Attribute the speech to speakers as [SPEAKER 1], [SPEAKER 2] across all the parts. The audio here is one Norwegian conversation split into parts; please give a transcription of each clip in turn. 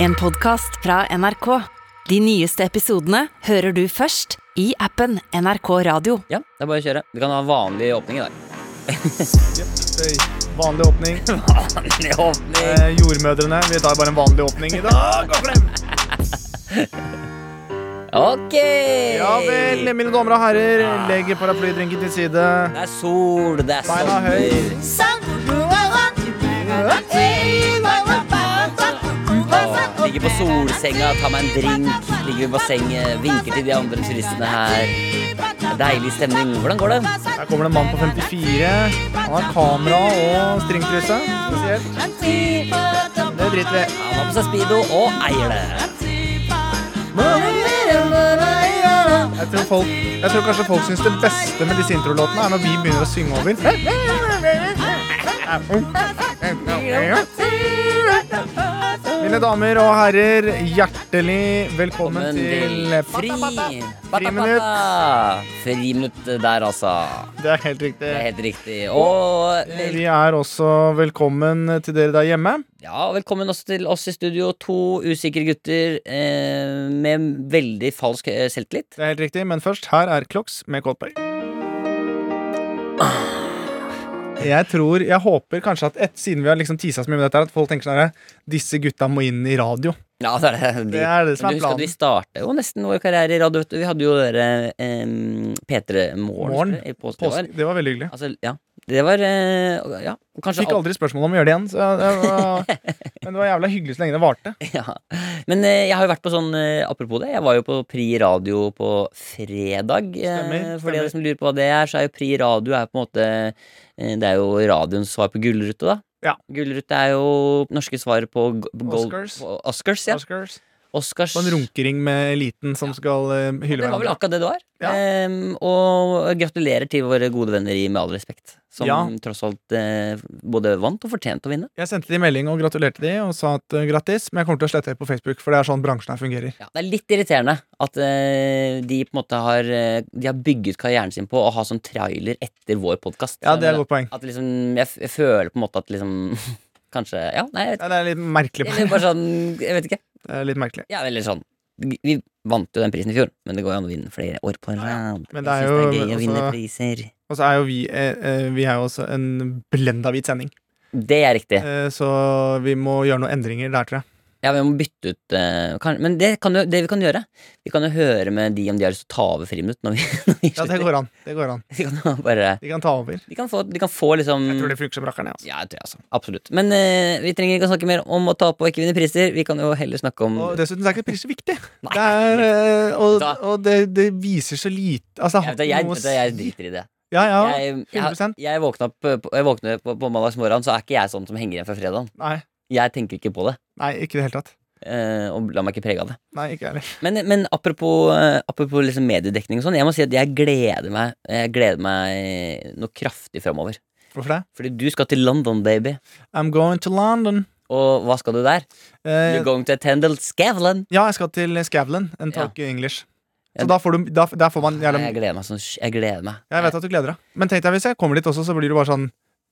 [SPEAKER 1] En podcast fra NRK. De nyeste episodene hører du først i appen NRK Radio.
[SPEAKER 2] Ja, det er bare å kjøre. Vi kan ha vanlig åpning i dag.
[SPEAKER 3] Oi, Vanlig åpning.
[SPEAKER 2] Vanlig åpning!
[SPEAKER 3] Eh, jordmødrene, vi tar bare en vanlig åpning i dag. Gå frem!
[SPEAKER 2] Ok!
[SPEAKER 3] Ja vel, mine damer og herrer. Legg paraplydrinken til side.
[SPEAKER 2] Det er sol, det er
[SPEAKER 3] Beina
[SPEAKER 2] sommer.
[SPEAKER 3] høy.
[SPEAKER 2] Åh, Ligger på solsenga, tar meg en drink. Ligger i bassenget, vinker til de andre turistene her. Deilig stemning. Hvordan går det?
[SPEAKER 3] Her kommer det en mann på 54. Han har kamera og stringtruse. Spesielt. Det driter vi i.
[SPEAKER 2] Han har på seg speedo og eier det.
[SPEAKER 3] Jeg tror, folk, jeg tror kanskje folk syns det beste med disse introlåtene er når vi begynner å synge over. Mine damer og herrer, hjertelig velkommen til eh,
[SPEAKER 2] fri
[SPEAKER 3] Friminutt.
[SPEAKER 2] Ba-ba-ba-ba. Friminutt der, altså.
[SPEAKER 3] Det er helt riktig.
[SPEAKER 2] Det er helt riktig. Og
[SPEAKER 3] Vi er også velkommen til dere der hjemme.
[SPEAKER 2] Ja, og velkommen også til oss i studio. To usikre gutter eh, med veldig falsk eh, selvtillit.
[SPEAKER 3] Det er helt riktig, Men først, her er Kloks med Kolberg. Jeg tror, jeg håper kanskje at et, siden vi har liksom tisa så mye med dette, her, at folk tenker sånn her Disse gutta må inn i radio.
[SPEAKER 2] Ja, det er det.
[SPEAKER 3] Det er det som er
[SPEAKER 2] Men du husker at
[SPEAKER 3] planen.
[SPEAKER 2] vi starta jo nesten vår karriere i radio. vet du. Vi hadde jo dere eh, P3 Morgen
[SPEAKER 3] Morgen.
[SPEAKER 2] i påske. det
[SPEAKER 3] Påske,
[SPEAKER 2] var.
[SPEAKER 3] det var veldig hyggelig.
[SPEAKER 2] Altså, ja. Det var eh, Ja, kanskje
[SPEAKER 3] Fikk
[SPEAKER 2] alt-
[SPEAKER 3] aldri spørsmål om å gjøre det igjen. Så jeg, jeg var, men det var jævla hyggelig så lenge det varte.
[SPEAKER 2] Ja. Men eh, jeg har jo vært på sånn eh, Apropos det, jeg var jo på Pri radio på fredag. eh,
[SPEAKER 3] Stemmer,
[SPEAKER 2] For de av dere
[SPEAKER 3] stemmer.
[SPEAKER 2] som lurer på hva det er, så er jo Pri radio er på en måte eh, Det er jo radioens svar på Gullrute, da.
[SPEAKER 3] Ja.
[SPEAKER 2] Gullrute er jo norske svaret på g- på gold,
[SPEAKER 3] Oscars.
[SPEAKER 2] på Oscars, ja.
[SPEAKER 3] Oscars.
[SPEAKER 2] Oscars.
[SPEAKER 3] Og en runkering med eliten som skal eh, hylle
[SPEAKER 2] Det var vel
[SPEAKER 3] hverandre.
[SPEAKER 2] akkurat det det var.
[SPEAKER 3] Ja.
[SPEAKER 2] Em, og gratulerer til våre gode venner i Med all respekt, som
[SPEAKER 3] Ja.
[SPEAKER 2] tross alt eh, både vant og fortjente å vinne.
[SPEAKER 3] Jeg sendte de melding og gratulerte de og sa at eh, grattis, men jeg kommer til å slette det på Facebook, for det er sånn bransjen her fungerer.
[SPEAKER 2] Ja, det er litt irriterende at eh, de på en måte har eh, De har bygget karrieren sin på å ha sånn trailer etter vår podkast.
[SPEAKER 3] Ja, det er et godt poeng.
[SPEAKER 2] At liksom, jeg, f jeg føler på en måte at liksom Kanskje Ja, nei, jeg vet ikke.
[SPEAKER 3] Ja, det er litt merkelig.
[SPEAKER 2] Eller bare sånn Jeg vet ikke.
[SPEAKER 3] Det er litt merkelig.
[SPEAKER 2] Ja, eller sånn Vi vant jo den prisen i fjor, men det går jo an å vinne flere år på rad.
[SPEAKER 3] Men det
[SPEAKER 2] jeg synes
[SPEAKER 3] er jo-
[SPEAKER 2] det er gøy å
[SPEAKER 3] men
[SPEAKER 2] vinne
[SPEAKER 3] også-
[SPEAKER 2] priser.
[SPEAKER 3] Og så er jo vi, eh, eh, vi er jo også en blenda hvit sending,
[SPEAKER 2] Det er riktig.
[SPEAKER 3] eh, så vi må gjøre noen endringer der, tror jeg.
[SPEAKER 2] Ja, vi må bytte ut eh, kan, Men det, kan jo, det vi kan gjøre Vi kan jo høre med de om de har lyst til å ta over friminutt når vi, når vi
[SPEAKER 3] Ja, det
[SPEAKER 2] slutter.
[SPEAKER 3] går an. Det går an.
[SPEAKER 2] Vi kan jo bare
[SPEAKER 3] De kan ta over.
[SPEAKER 2] De kan få, de kan få liksom
[SPEAKER 3] Jeg tror det funker som rakkeren, jeg. Altså.
[SPEAKER 2] Ja, jeg tror jeg altså. Absolutt. Men eh, vi trenger ikke å snakke mer om å tape og ikke vinne priser. Vi kan jo heller snakke om
[SPEAKER 3] Og dessuten så er ikke pris så viktig.
[SPEAKER 2] Nei.
[SPEAKER 3] Det er, eh, og
[SPEAKER 2] Da-
[SPEAKER 3] og det, det viser så lite Altså, det
[SPEAKER 2] jeg, vet,
[SPEAKER 3] har
[SPEAKER 2] da, jeg,
[SPEAKER 3] ikke noe
[SPEAKER 2] vet, da, jeg driter i det.
[SPEAKER 3] å si. Ja, ja.
[SPEAKER 2] jeg, jeg,
[SPEAKER 3] 100%.
[SPEAKER 2] jeg våkna opp eh, på, jeg våkner på, på mandagsmorgenen, så er ikke jeg sånn som henger igjen fra fredagen.
[SPEAKER 3] Nei,
[SPEAKER 2] Jeg tenker ikke på det,
[SPEAKER 3] nei, ikke i det hele tatt.
[SPEAKER 2] eh, og lar meg ikke prege av det.
[SPEAKER 3] Nei, ikke jeg heller.
[SPEAKER 2] Men, men apropos, eh, apropos liksom mediedekning og sånn, jeg må si at jeg gleder meg, jeg gleder meg noe kraftig framover.
[SPEAKER 3] Hvorfor det?
[SPEAKER 2] Fordi du skal til London, baby.
[SPEAKER 3] I'm going to London.
[SPEAKER 2] Og hva skal du der?
[SPEAKER 3] Eh,
[SPEAKER 2] You're going to attend Scavlan.
[SPEAKER 3] ja, jeg skal til Skavlan and talk English.
[SPEAKER 2] Ja.
[SPEAKER 3] Så da får du da, Der får man jævla
[SPEAKER 2] Jeg gleder meg sånn. Jeg gleder meg.
[SPEAKER 3] Jeg vet at du gleder deg. Men tenk deg hvis jeg kommer dit også, så blir du bare sånn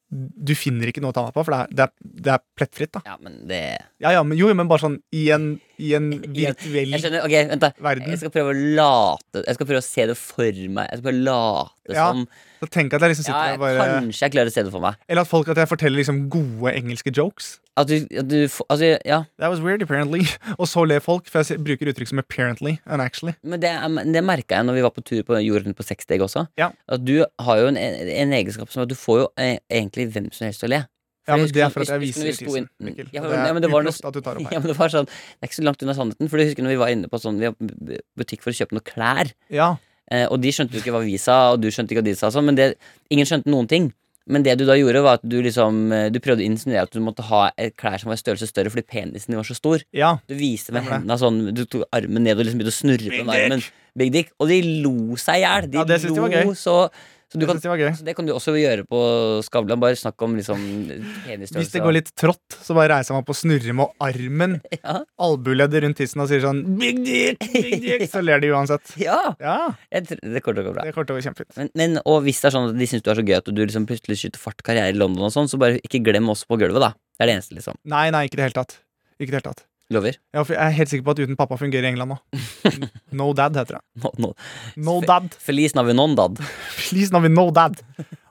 [SPEAKER 3] Du finner ikke noe å ta meg på, for det er, det er, det er plettfritt, da.
[SPEAKER 2] Ja, men det
[SPEAKER 3] Ja, ja, men, jo, men bare sånn i en, i en
[SPEAKER 2] I en-
[SPEAKER 3] virtuell
[SPEAKER 2] Jeg skjønner, ok, vent da
[SPEAKER 3] verden.
[SPEAKER 2] Jeg skal prøve å late Jeg skal prøve å se det for meg Jeg skal prøve å late
[SPEAKER 3] Ja,
[SPEAKER 2] som
[SPEAKER 3] Så tenk at jeg liksom
[SPEAKER 2] ja,
[SPEAKER 3] sitter der bare
[SPEAKER 2] Kanskje jeg klarer å se det for meg
[SPEAKER 3] Eller at folk at jeg forteller liksom gode engelske jokes.
[SPEAKER 2] At du, at du får- altså, ja
[SPEAKER 3] That was weird, apparently. Og så ler folk, for jeg sier- bruker uttrykk som apparently and actually.
[SPEAKER 2] Men det, er- det merket jeg når vi var på tur på jorden på sexsteg også
[SPEAKER 3] Ja.
[SPEAKER 2] At du har jo en, en egenskap som at du får jo eh, egentlig hvem som helst til å le For
[SPEAKER 3] Ja,
[SPEAKER 2] jeg
[SPEAKER 3] men
[SPEAKER 2] husker
[SPEAKER 3] det er
[SPEAKER 2] når-
[SPEAKER 3] for at
[SPEAKER 2] husker
[SPEAKER 3] jeg
[SPEAKER 2] når
[SPEAKER 3] viser
[SPEAKER 2] vi sto
[SPEAKER 3] tissen,
[SPEAKER 2] inn-
[SPEAKER 3] Mikkel.
[SPEAKER 2] Ja,
[SPEAKER 3] Og
[SPEAKER 2] men-
[SPEAKER 3] det
[SPEAKER 2] ja,
[SPEAKER 3] er
[SPEAKER 2] men det var noe
[SPEAKER 3] uproft at du tar opp
[SPEAKER 2] Ja,
[SPEAKER 3] her.
[SPEAKER 2] men det var sånn Det er ikke så langt unna sannheten For du husker når vi var inne på sånn Vi har b- butikk for å kjøpe noe klær
[SPEAKER 3] Ja,
[SPEAKER 2] Eh, og de skjønte jo ikke hva vi sa, og du skjønte ikke hva de sa. og Sånn, men det, ingen skjønte noen ting. Men det du da gjorde, var at du liksom eh, Du prøvde å insinuere at du måtte ha eh, klær som var i størrelse større fordi penisen din var så stor.
[SPEAKER 3] ja.
[SPEAKER 2] Du viste med
[SPEAKER 3] Stemmer det.
[SPEAKER 2] hendene sånn, du tok armen ned og liksom begynte å snurre
[SPEAKER 3] Big
[SPEAKER 2] med armen. Big dick. Og de lo seg i hjel. De
[SPEAKER 3] Ja, det synes de
[SPEAKER 2] lo
[SPEAKER 3] var gøy.
[SPEAKER 2] så så, du
[SPEAKER 3] Jeg
[SPEAKER 2] kan,
[SPEAKER 3] syns det var gøy.
[SPEAKER 2] så det kan du også gjøre på Skavlan. Bare snakk om liksom penisstørrelse.
[SPEAKER 3] Hvis det går litt trått, så bare reiser jeg meg opp og snurrer med armen.
[SPEAKER 2] Ja.
[SPEAKER 3] Albueleddet rundt tissen og sier sånn Big dick, big dick, så ler de uansett.
[SPEAKER 2] Ja!
[SPEAKER 3] Ja,
[SPEAKER 2] Jeg, tror- det kommer til å gå bra.
[SPEAKER 3] det kommer til å gå kjempefint.
[SPEAKER 2] Men, men, og hvis det er sånn at de syns du er så gøy at du liksom plutselig skyter fart karriere i London, og sånn så bare ikke glem oss på gulvet, da. Det er det eneste, liksom.
[SPEAKER 3] Nei, nei, ikke i det hele tatt. Ikke i det hele tatt.
[SPEAKER 2] Lover.
[SPEAKER 3] Ja, for Jeg er helt sikker på at uten pappa fungerer England nå. No dad heter det.
[SPEAKER 2] No, no.
[SPEAKER 3] No dad.
[SPEAKER 2] Feliz navinondad.
[SPEAKER 3] Please, now we no dad.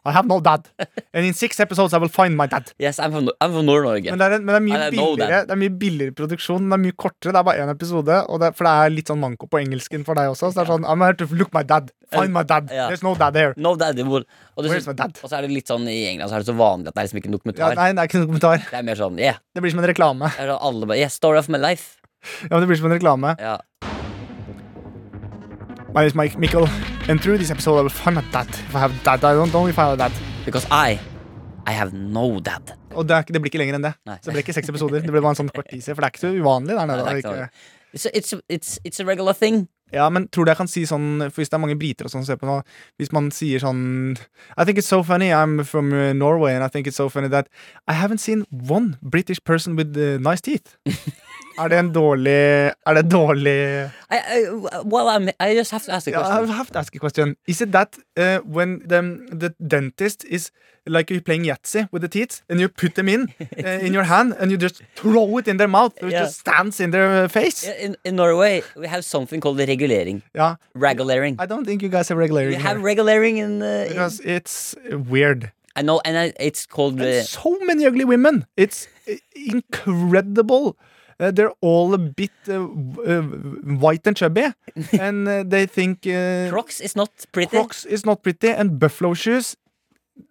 [SPEAKER 3] I have no dad. And in six episodes I will find my dad.
[SPEAKER 2] Yes, I'm from, I'm from Nord-Norge.
[SPEAKER 3] Men det er, en- men det er, mye,
[SPEAKER 2] I know
[SPEAKER 3] billigere, det er mye billigere produksjon. men Det er mye kortere. Det er bare én episode. Og det, for det er litt sånn manko på engelsken for deg også. Så det er sånn I'm here to look my dad. Find my dad.
[SPEAKER 2] Ja.
[SPEAKER 3] There's no dad here.
[SPEAKER 2] No daddy hvor- Og, det
[SPEAKER 3] Where's
[SPEAKER 2] synes-
[SPEAKER 3] my dad?
[SPEAKER 2] og så er det litt sånn i England så er det så vanlig at det er liksom ikke en
[SPEAKER 3] Ja,
[SPEAKER 2] dokumentar.
[SPEAKER 3] nei, det er ikke noen kommentar.
[SPEAKER 2] det er mer sånn yeah.
[SPEAKER 3] Det blir som en reklame.
[SPEAKER 2] Det er sånn alle bare, yeah, story of my life.
[SPEAKER 3] Ja, men det blir som en reklame.
[SPEAKER 2] Ja.
[SPEAKER 3] My name is Mike Mikkel, and through this episode I will find my dad. If I have dad, I don't know if I have dad.
[SPEAKER 2] Because I I have no dad.
[SPEAKER 3] Og det, er, ikke- det blir ikke lenger enn det.
[SPEAKER 2] Nei.
[SPEAKER 3] Så det blir ikke seks episoder. Det blir bare en sånn kort teaser, for det er ikke så uvanlig der
[SPEAKER 2] Nei,
[SPEAKER 3] nede.
[SPEAKER 2] det er
[SPEAKER 3] og
[SPEAKER 2] ikke
[SPEAKER 3] ikke-
[SPEAKER 2] It's a, it's, a, it's, it's a regular thing.
[SPEAKER 3] Ja, men tror du jeg kan si sånn For hvis det er mange briter og sånn som ser på nå Hvis man sier sånn I think it's so funny I'm from uh, Norway And I think it's so funny that I haven't seen one British person with uh, nice teeth Er det en dårlig Er det en dårlig
[SPEAKER 2] I, I, well, I'm, I just have to ask a
[SPEAKER 3] Ja, I
[SPEAKER 2] question.
[SPEAKER 3] have to ask a question Is it that uh, when the, the dentist is Like you're playing Yahtzee with the teeth And you put them in uh, In your hand And you just throw it in their mouth It
[SPEAKER 2] Yeah.
[SPEAKER 3] just stands in their uh, face
[SPEAKER 2] In, in Norway, we have something called regulering.
[SPEAKER 3] Yeah
[SPEAKER 2] Regulering.
[SPEAKER 3] I don't think you guys have regular
[SPEAKER 2] We have regulering in, uh, in
[SPEAKER 3] Because it's weird
[SPEAKER 2] I know, and I, it's called uh,
[SPEAKER 3] and so many ugly women. It's i- incredible. Uh, they're all a bit uh, w- uh, white and chubby, and uh, they think uh,
[SPEAKER 2] Crocs. It's not pretty.
[SPEAKER 3] Crocs is not pretty, and buffalo shoes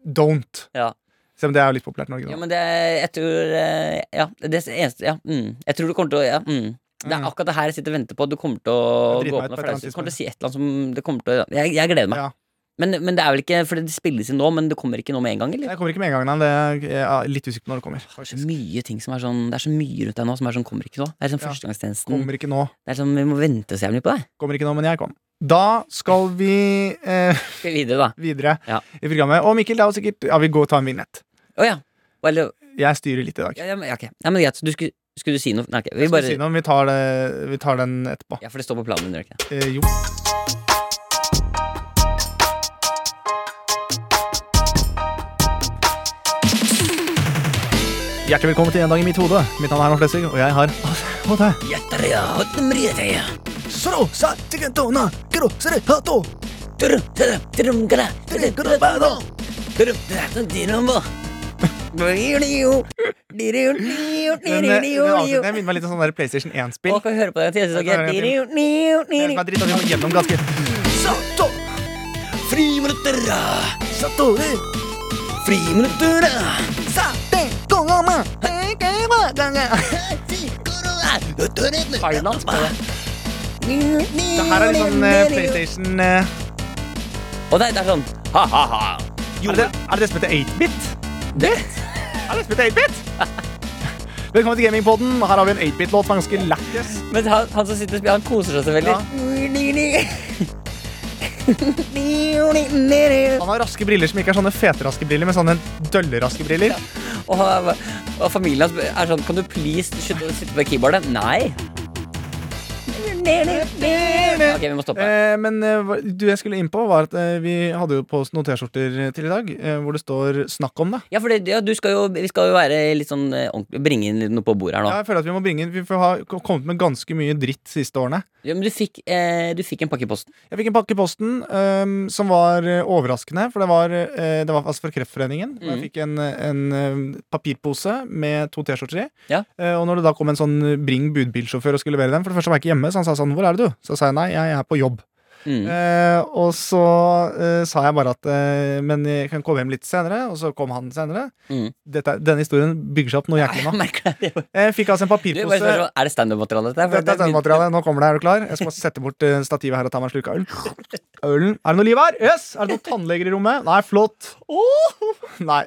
[SPEAKER 3] don't.
[SPEAKER 2] Ja.
[SPEAKER 3] Selv om det er jo litt populært i Norge.
[SPEAKER 2] ja,
[SPEAKER 3] nå.
[SPEAKER 2] men det er Jeg tror eh, Ja, det er det eneste Ja. Mm. Jeg tror du kommer til å ja, mm. Det er akkurat det her jeg sitter og venter på. at Du kommer til å
[SPEAKER 3] Jeg driter
[SPEAKER 2] gå
[SPEAKER 3] meg
[SPEAKER 2] opp med
[SPEAKER 3] ut på et eller
[SPEAKER 2] flauser.
[SPEAKER 3] annet
[SPEAKER 2] Du kommer til å si et eller annet som det kommer til å Jeg, jeg gleder meg.
[SPEAKER 3] Ja.
[SPEAKER 2] Men, men det er vel ikke For det spilles inn nå, men det kommer ikke nå med en gang, eller?
[SPEAKER 3] Jeg kommer ikke med en gang, nei. Det er, jeg er litt usikker på når det kommer.
[SPEAKER 2] Det
[SPEAKER 3] faktisk.
[SPEAKER 2] er så mye ting som er sånn Det er så mye rundt deg nå som er sånn kommer ikke nå. Det er sånn
[SPEAKER 3] Ja.
[SPEAKER 2] førstegangstjenesten.
[SPEAKER 3] Kommer ikke nå.
[SPEAKER 2] Det er sånn Vi må vente og se jævlig på deg.
[SPEAKER 3] Kommer ikke nå, men jeg kom. Da skal vi eh,
[SPEAKER 2] Skal vi videre, da?
[SPEAKER 3] videre
[SPEAKER 2] Ja.
[SPEAKER 3] i programmet. Og Mikkel, det er jo sikkert Ja, vi går og tar en vignett.
[SPEAKER 2] Å ja. Å, Eller
[SPEAKER 3] Jeg styrer litt i dag.
[SPEAKER 2] ja, ja, men- ja, ok. Nei, men greit. så Du skulle, skulle du si noe? Nei, ok. Vi
[SPEAKER 3] Skal vi
[SPEAKER 2] bare
[SPEAKER 3] si noe om vi tar, det, vi tar den etterpå?
[SPEAKER 2] Ja, for det står på planen din, gjør det ikke?
[SPEAKER 3] Eh, jo. Hjertelig velkommen til En dag i mitt hode. Mitt navn er Herman Flesvig, og jeg har Og deg.
[SPEAKER 2] Hjertelig, ja. Og den bryr seg, ja. Turum, turum, turum, gara, turum, gara, bada. Turum, turum, turum, ba. Dirio, dirio, dirio,
[SPEAKER 3] Den, eh, den
[SPEAKER 2] dirio, dirio.
[SPEAKER 3] avslutningen minner meg litt om sånn der PlayStation 1-spill.
[SPEAKER 2] Å, kan vi høre på den til? Jeg synes
[SPEAKER 3] Jeg
[SPEAKER 2] det
[SPEAKER 3] kan
[SPEAKER 2] er
[SPEAKER 3] høre
[SPEAKER 2] dirio, dirio,
[SPEAKER 3] Det som
[SPEAKER 2] dirio.
[SPEAKER 3] er dritt, er at vi må gjennom ganske
[SPEAKER 2] Sato! Friminutter! Satori! Friminutter!
[SPEAKER 3] Thailand. tror jeg. Det her er litt sånn eh, PlayStation eh,
[SPEAKER 2] Og det, er- det er sånn ha-ha-ha.
[SPEAKER 3] er, det, er det det som heter 8-bit?
[SPEAKER 2] Det?
[SPEAKER 3] Er det som heter 8-bit? Velkommen til Gamingpodden. Her har vi en 8-bit-låt. som er Ganske lættis.
[SPEAKER 2] Men han, han som sitter og spiller, han koser seg så veldig.
[SPEAKER 3] Han har raske briller som ikke er sånne fete-raske briller, men sånne dølle-raske briller.
[SPEAKER 2] Og, han- og familien hans er sånn Kan du please slutte å sitte med keyboardet? Nei. Ok, vi må stoppe.
[SPEAKER 3] Eh, men eh, hva- du jeg skulle inn på, var at eh, vi hadde jo på oss noen T-skjorter til i dag, eh, hvor det står 'snakk om det'.
[SPEAKER 2] Ja, for det, ja, du skal jo, vi skal jo være litt sånn eh, ordentlig Bringe inn litt noe på bordet her nå.
[SPEAKER 3] Ja, jeg føler at Vi må bringe inn, vi får ha kommet med ganske mye dritt siste årene.
[SPEAKER 2] Ja, men du fikk, eh, du fikk en pakke i posten.
[SPEAKER 3] Jeg fikk en pakke i posten eh, som var eh, overraskende, for det var, eh, det var altså fra Kreftforeningen. Og jeg
[SPEAKER 2] Mhm.
[SPEAKER 3] fikk en, en eh, papirpose med to T-skjorter i.
[SPEAKER 2] Ja.
[SPEAKER 3] Eh, og når det da kom en sånn Bring budbilsjåfør og skulle levere den For det første var jeg ikke hjemme, så han sa sånn 'Hvor er du?' Så sa jeg nei, jeg er på jobb.
[SPEAKER 2] Mm.
[SPEAKER 3] Eh, og så eh, sa jeg bare at eh, Men jeg kan komme hjem litt senere, og så kom han senere.
[SPEAKER 2] Mm.
[SPEAKER 3] Dette, denne historien bygger seg opp noe jæklig
[SPEAKER 2] Jeg
[SPEAKER 3] nå.
[SPEAKER 2] merker det.
[SPEAKER 3] Jeg fikk altså en
[SPEAKER 2] Du, bare
[SPEAKER 3] papirpose.
[SPEAKER 2] spør sånn, er det standup-materiale, dette? her? For
[SPEAKER 3] Dette er
[SPEAKER 2] det-
[SPEAKER 3] sendematerialet. Nå kommer det. Er du klar? Jeg skal bare sette bort eh, stativet her og ta meg en slurk av øl. Ølen. Er det noe liv her? Yes! Er det noen tannleger i rommet? Nei, flott. Åh! Nei.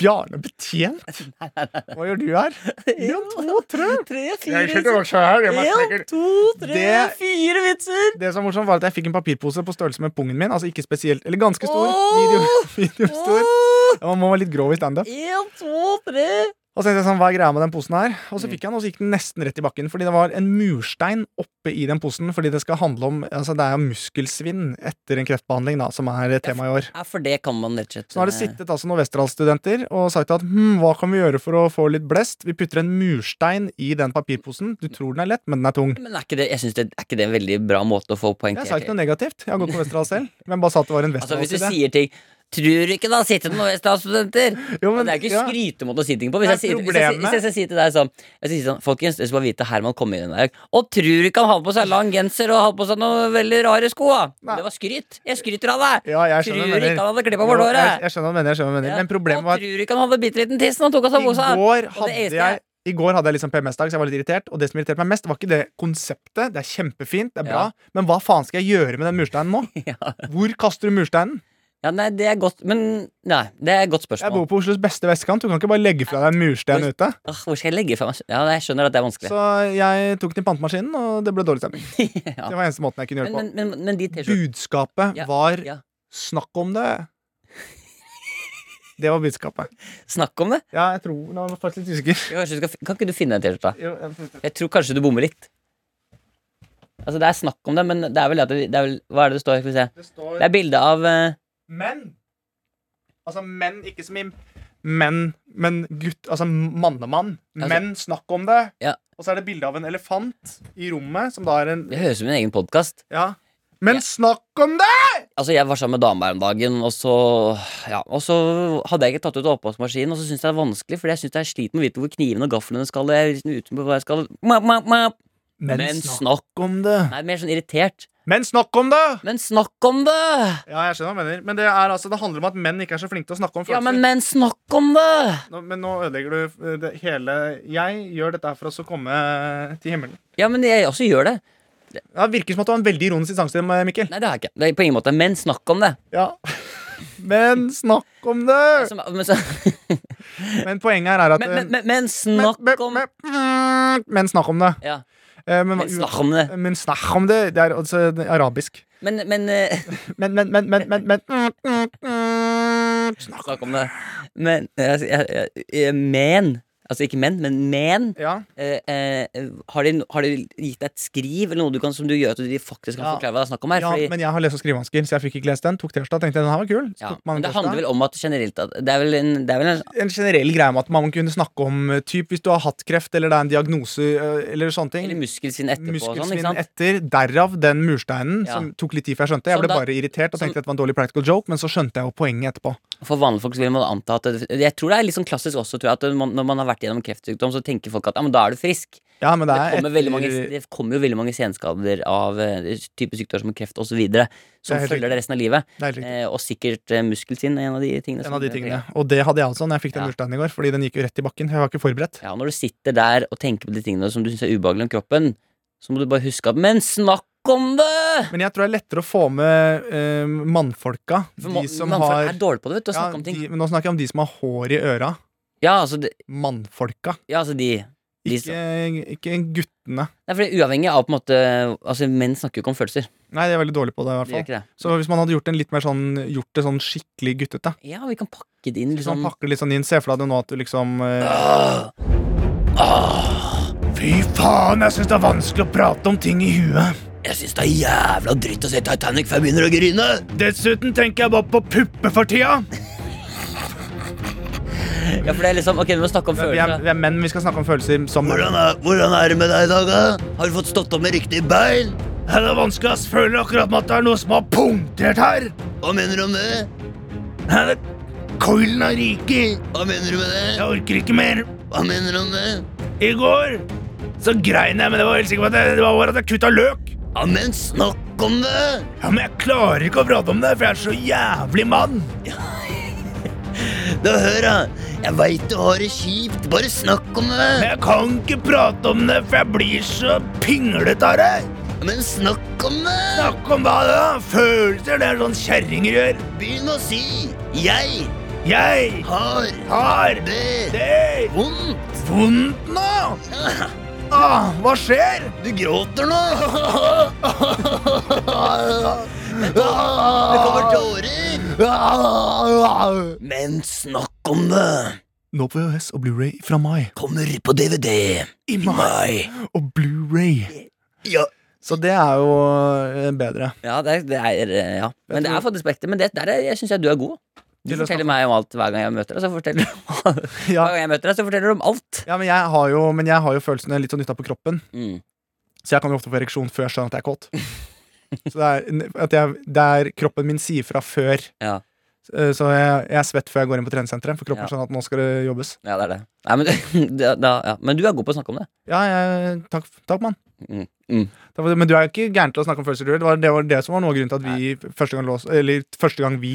[SPEAKER 3] Bjarne Betjent? Hva gjør du her? En, to, tre.
[SPEAKER 2] Tre,
[SPEAKER 3] Jeg
[SPEAKER 2] fire,
[SPEAKER 3] skjønner hva jeg gjør.
[SPEAKER 2] en, to, tre,
[SPEAKER 3] Det-
[SPEAKER 2] fire vitser!
[SPEAKER 3] Det som var morsomt var at Jeg fikk en papirpose på størrelse med pungen min. Altså ikke spesielt, eller Ganske stor.
[SPEAKER 2] Åh!
[SPEAKER 3] Video, videostor.
[SPEAKER 2] Åh!
[SPEAKER 3] Ja, Man må være litt grov i standup.
[SPEAKER 2] En, to, tre,
[SPEAKER 3] Og Og så tenkte jeg sånn, hva er greia med den posen her? Og så
[SPEAKER 2] Mm.
[SPEAKER 3] fikk jeg den, og så gikk den nesten rett i bakken. Fordi det var en murstein oppe i den posen. Fordi det skal handle om altså det er jo muskelsvinn etter en kreftbehandling, da, som er tema i år.
[SPEAKER 2] Ja, Eh. for det kan man rett og slett
[SPEAKER 3] Så nå har det sittet altså noen Westerdals-studenter og sagt at hm, hva kan vi gjøre for å få litt blest? Vi putter en murstein i den papirposen. Du tror den er lett, men den er tung.
[SPEAKER 2] eh, Men er ikke det, jeg synes det er ikke det en veldig bra måte å få
[SPEAKER 3] Jeg
[SPEAKER 2] poengtert
[SPEAKER 3] sa ikke noe negativt. Jeg har gått på Westerdals selv. Men bare sa at det var en
[SPEAKER 2] Altså Hvis du
[SPEAKER 3] Westerdals-idé.
[SPEAKER 2] sier ting Tror ikke det har sittet noen Westerdal-studenter!
[SPEAKER 3] Jo,
[SPEAKER 2] Men
[SPEAKER 3] men-
[SPEAKER 2] Det er ikke
[SPEAKER 3] ja.
[SPEAKER 2] skrytemåte å si ting på. Hvis
[SPEAKER 3] Nei,
[SPEAKER 2] jeg, sier, hvis, jeg, hvis, jeg,
[SPEAKER 3] problemet-
[SPEAKER 2] hvis jeg sier til deg sånn Jeg sier sånn Folkens, jeg skal bare vite Herman kom inn i dag Og tror ikke han hadde på seg lang genser og hadde på seg noen veldig rare sko. da.
[SPEAKER 3] Nei.
[SPEAKER 2] Det var skryt. Jeg skryter av deg.
[SPEAKER 3] Ja,
[SPEAKER 2] Tror
[SPEAKER 3] jeg skjønner hva du
[SPEAKER 2] ikke
[SPEAKER 3] mener.
[SPEAKER 2] han hadde klippa
[SPEAKER 3] Jo,
[SPEAKER 2] bort
[SPEAKER 3] Jeg,
[SPEAKER 2] håret.
[SPEAKER 3] jeg skjønner hva du mener, jeg skjønner hva du mener. Men problemet var
[SPEAKER 2] Og tror ikke han hadde bitte liten tissen. Han tok av seg buksa.
[SPEAKER 3] I
[SPEAKER 2] Og
[SPEAKER 3] går
[SPEAKER 2] det
[SPEAKER 3] hadde
[SPEAKER 2] eneste
[SPEAKER 3] jeg i går hadde jeg liksom PMS-dag, så jeg var litt irritert. Og det som irriterte meg mest, var ikke det konseptet. Det er kjempefint, det er bra.
[SPEAKER 2] Ja.
[SPEAKER 3] Men hva faen skal jeg gjøre med den mursteinen nå?
[SPEAKER 2] Ja.
[SPEAKER 3] Hvor kaster du mursteinen?
[SPEAKER 2] ja, nei, det er godt Men nei, det er et godt
[SPEAKER 3] Jeg
[SPEAKER 2] spørsmål.
[SPEAKER 3] bor på Oslos beste vestkant. Du kan ikke bare legge fra deg en murstein ute.
[SPEAKER 2] Åh, hvor skal jeg legge fra meg Ja, jeg skjønner at det er vanskelig.
[SPEAKER 3] Så jeg tok den i pantemaskinen, og det ble dårlig stemning.
[SPEAKER 2] Ja.
[SPEAKER 3] Det var eneste måten jeg kunne
[SPEAKER 2] Men,
[SPEAKER 3] gjøre det
[SPEAKER 2] men, men, men de
[SPEAKER 3] på.
[SPEAKER 2] T-skjortene
[SPEAKER 3] Budskapet
[SPEAKER 2] Ja,
[SPEAKER 3] var
[SPEAKER 2] ja.
[SPEAKER 3] 'snakk om det'. Det var budskapet.
[SPEAKER 2] Snakk om det.
[SPEAKER 3] Ja, jeg tror Nå er jeg faktisk litt usikker.
[SPEAKER 2] Jo, kanskje du skal, kan ikke du finne en T-skjorte?
[SPEAKER 3] Jo, jeg-
[SPEAKER 2] Jeg tror kanskje du bommer litt. Altså, det er snakk om det, men det er vel at det, det er vel, Hva er det det står? Skal vi se.
[SPEAKER 3] Det står
[SPEAKER 2] Det er bilde av eh,
[SPEAKER 3] Men Altså menn, ikke som i Men, men gutt, altså mannemann
[SPEAKER 2] Altså-
[SPEAKER 3] Men, snakk om det
[SPEAKER 2] Ja.
[SPEAKER 3] Og så er det bildet av en elefant i rommet Som da er en,
[SPEAKER 2] Det høres ut som en egen podkast.
[SPEAKER 3] ja Men
[SPEAKER 2] Ja.
[SPEAKER 3] snakk om det!
[SPEAKER 2] Altså, jeg var sammen med dame her om dagen, og så Ja, og så hadde jeg ikke tatt ut oppvaskmaskinen, og så syns jeg det er vanskelig, fordi jeg syns jeg sliter med å vite hvor knivene og gaflene skal. Jeg er liksom uten på hva jeg skal map, map, map. Men, snakk
[SPEAKER 3] om det
[SPEAKER 2] Nei, mer sånn irritert.
[SPEAKER 3] Men snakk om det!
[SPEAKER 2] Men snakk om det!
[SPEAKER 3] Ja, jeg skjønner hva du mener Men det, er, altså, det handler om at menn ikke er så flinke til å snakke om
[SPEAKER 2] Ja,
[SPEAKER 3] følelser
[SPEAKER 2] men, men snakk om det!
[SPEAKER 3] nå, men nå ødelegger du eh, det hele Jeg gjør dette her for oss å komme eh, til himmelen
[SPEAKER 2] Ja, men jeg også gjør det.
[SPEAKER 3] ja, Det virker som at du har en veldig ironisk distanse til meg, Mikkel
[SPEAKER 2] Nei, det har jeg ikke. Det er på ingen måte. Men snakk om det.
[SPEAKER 3] Ja Men snakk om det
[SPEAKER 2] Som- Men, så,
[SPEAKER 3] Men poenget her er at
[SPEAKER 2] men,
[SPEAKER 3] eh,
[SPEAKER 2] men, men, men snakk om
[SPEAKER 3] men, men, men snakk om det.
[SPEAKER 2] Ja,
[SPEAKER 3] Eh, Men,
[SPEAKER 2] men snakk om det.
[SPEAKER 3] men snakk om det. Det er altså det er arabisk.
[SPEAKER 2] Men, men eh,
[SPEAKER 3] Men, men, men, men, men, men Snakk
[SPEAKER 2] Snakk om det. Men eh, altså, jeg, jeg, jeg, Men. Altså ikke men, men men.
[SPEAKER 3] Ja.
[SPEAKER 2] Eh, eh, har, de, har de gitt deg et skriv eller noe du kan, som du gjør at de faktisk kan
[SPEAKER 3] Ja.
[SPEAKER 2] forklare hva det er snakk om her?
[SPEAKER 3] ja,
[SPEAKER 2] fordi, men,
[SPEAKER 3] men jeg har lese- og skrivevansker, så jeg fikk ikke lest den. Tok tirsdag, tenkte jeg den her var kul. Så
[SPEAKER 2] ja.
[SPEAKER 3] tok man
[SPEAKER 2] men det
[SPEAKER 3] tirsdag.
[SPEAKER 2] handler vel om at generelt at Det er vel en, det er vel en
[SPEAKER 3] En generell greie med at man kunne snakke om eh, typ hvis du har hatt kreft eller det er en diagnose eh, eller sånne ting.
[SPEAKER 2] eller muskelsvinn etterpå og sånn, ikke
[SPEAKER 3] Muskelsvinn
[SPEAKER 2] sant?
[SPEAKER 3] etter, derav den mursteinen,
[SPEAKER 2] Ja.
[SPEAKER 3] som tok litt tid før jeg skjønte. Jeg
[SPEAKER 2] Som
[SPEAKER 3] ble
[SPEAKER 2] da-
[SPEAKER 3] bare irritert og
[SPEAKER 2] som-
[SPEAKER 3] tenkte at det var en dårlig practical joke, men så skjønte jeg jo poenget etterpå.
[SPEAKER 2] For vanlige folk så vil man anta at det, Jeg tror det er litt sånn klassisk også, tror jeg, at man, når man har vært gjennom kreftsykdom, så tenker folk at ja, men da er du frisk.
[SPEAKER 3] Ja, men det,
[SPEAKER 2] Det
[SPEAKER 3] er
[SPEAKER 2] kommer, veldig mange,
[SPEAKER 3] etter-
[SPEAKER 2] det kommer jo veldig mange senskader av eh, type sykdommer som kreft osv.
[SPEAKER 3] Det er
[SPEAKER 2] Som
[SPEAKER 3] helt
[SPEAKER 2] følger deg resten av livet.
[SPEAKER 3] det er helt riktig.
[SPEAKER 2] Eh, og sikkert eh, muskelsvinn er en av de tingene.
[SPEAKER 3] En
[SPEAKER 2] som-
[SPEAKER 3] av de tingene. Og det hadde jeg også når jeg fikk den
[SPEAKER 2] Ja.
[SPEAKER 3] mursteinen i går, fordi den gikk jo rett i bakken. Jeg var ikke forberedt.
[SPEAKER 2] Ja, Når du sitter der og tenker på de tingene som du syns er ubehagelige om kroppen, så må du bare huske at Men snakk om det!
[SPEAKER 3] Men jeg tror det er lettere å få med eh, mannfolka.
[SPEAKER 2] For
[SPEAKER 3] De
[SPEAKER 2] ma-
[SPEAKER 3] som
[SPEAKER 2] mannfolk
[SPEAKER 3] har
[SPEAKER 2] er dårlige på det, vet du, å
[SPEAKER 3] ja,
[SPEAKER 2] snakke om ting.
[SPEAKER 3] de, men Nå snakker jeg om de som har hår i øra.
[SPEAKER 2] Ja, altså, de,
[SPEAKER 3] Mannfolka.
[SPEAKER 2] ja, altså de De
[SPEAKER 3] Ikke, ikke guttene.
[SPEAKER 2] Nei, for det er uavhengig av på en måte Altså, menn snakker jo ikke om følelser.
[SPEAKER 3] Nei, de er veldig dårlige på det. i
[SPEAKER 2] De gjør
[SPEAKER 3] hvert fall
[SPEAKER 2] ikke det.
[SPEAKER 3] Så hvis man hadde gjort, en litt mer sånn, gjort det sånn skikkelig guttete
[SPEAKER 2] Ja, vi kan pakke det inn,
[SPEAKER 3] Hvis man
[SPEAKER 2] liksom.
[SPEAKER 3] pakker det litt sånn inn, se for deg det nå at du liksom eh,
[SPEAKER 2] Åh, Ah!
[SPEAKER 3] Fy faen, jeg syns det er vanskelig å prate om ting i huet.
[SPEAKER 2] jeg syns det er jævla dritt å se Titanic før jeg begynner å grine!
[SPEAKER 3] Dessuten tenker jeg bare på pupper for tida.
[SPEAKER 2] Ja, for det er liksom Ok, vi må snakke om
[SPEAKER 3] Vi er,
[SPEAKER 2] følelser.
[SPEAKER 3] vi er menn, vi skal snakke om følelser som
[SPEAKER 2] er, det med deg i dag, da? Har du fått stått opp med riktig bein?
[SPEAKER 3] Det er vanskelig, ass. Føler akkurat at det er noe som har punktert her.
[SPEAKER 2] Hva mener du om det?
[SPEAKER 3] Coilen er rikig.
[SPEAKER 2] Hva mener du med det?
[SPEAKER 3] orker ikke mer.
[SPEAKER 2] Hva mener du om det?
[SPEAKER 3] I går så grein jeg, men det var helt sikker på at det, det var bare at jeg kutta løk.
[SPEAKER 2] Ja, men snakk om det!
[SPEAKER 3] Ja, Men jeg klarer ikke å prate om det, for jeg er så jævlig mann.
[SPEAKER 2] Da hør, da. Jeg veit du har det kjipt. Bare snakk om det.
[SPEAKER 3] Jeg kan ikke prate om det, for jeg blir så pinglete av det.
[SPEAKER 2] Ja, Men snakk om det!
[SPEAKER 3] Snakk om hva da? Følelser, det er sånn kjerringer gjør.
[SPEAKER 2] Begynn å si 'jeg
[SPEAKER 3] Jeg
[SPEAKER 2] har
[SPEAKER 3] har
[SPEAKER 2] det
[SPEAKER 3] det
[SPEAKER 2] vondt'.
[SPEAKER 3] vondt nå.
[SPEAKER 2] Ja,
[SPEAKER 3] Ah, hva skjer?
[SPEAKER 2] Du gråter nå. Det
[SPEAKER 3] Ah,
[SPEAKER 2] Ah. kommer tårer. Men snakk om det.
[SPEAKER 3] Nå på VHS og Blu-ray fra mai.
[SPEAKER 2] Kommer på DVD
[SPEAKER 3] I Og Blu-ray!
[SPEAKER 2] Ja.
[SPEAKER 3] Så det er jo eh, bedre.
[SPEAKER 2] Ja, det er, det er, eh, ja. Men det er faktisk på ekte. Men det, der er, jeg syns jeg du er god. Du
[SPEAKER 3] Til å
[SPEAKER 2] forteller meg om alt hver gang jeg møter deg. Så forteller du
[SPEAKER 3] Ja.
[SPEAKER 2] Hver gang jeg møter deg, så forteller du om alt.
[SPEAKER 3] Ja, men jeg har jo, men jeg har jo følelsene litt sånn nytta på kroppen,
[SPEAKER 2] Mm.
[SPEAKER 3] så jeg kan jo ofte få ereksjon før jeg skjønner at jeg er kåt. Så det er, at jeg, det er kroppen min sier fra før.
[SPEAKER 2] Ja.
[SPEAKER 3] Eh, Så jeg, jeg er svett før jeg går inn på treningssenteret, for
[SPEAKER 2] Ja.
[SPEAKER 3] kroppen skjønner at nå skal det jobbes.
[SPEAKER 2] ja, det er det. Nei, men, det- da, ja. men du er god på å snakke om det.
[SPEAKER 3] Ja, jeg, takk, takk mann.
[SPEAKER 2] Mm. Mm.
[SPEAKER 3] Takk for det. Men du er jo ikke gæren til å snakke om følelser, du heller. Det var, det var det som var noe av grunnen til at vi første gang, lås, eller, første gang vi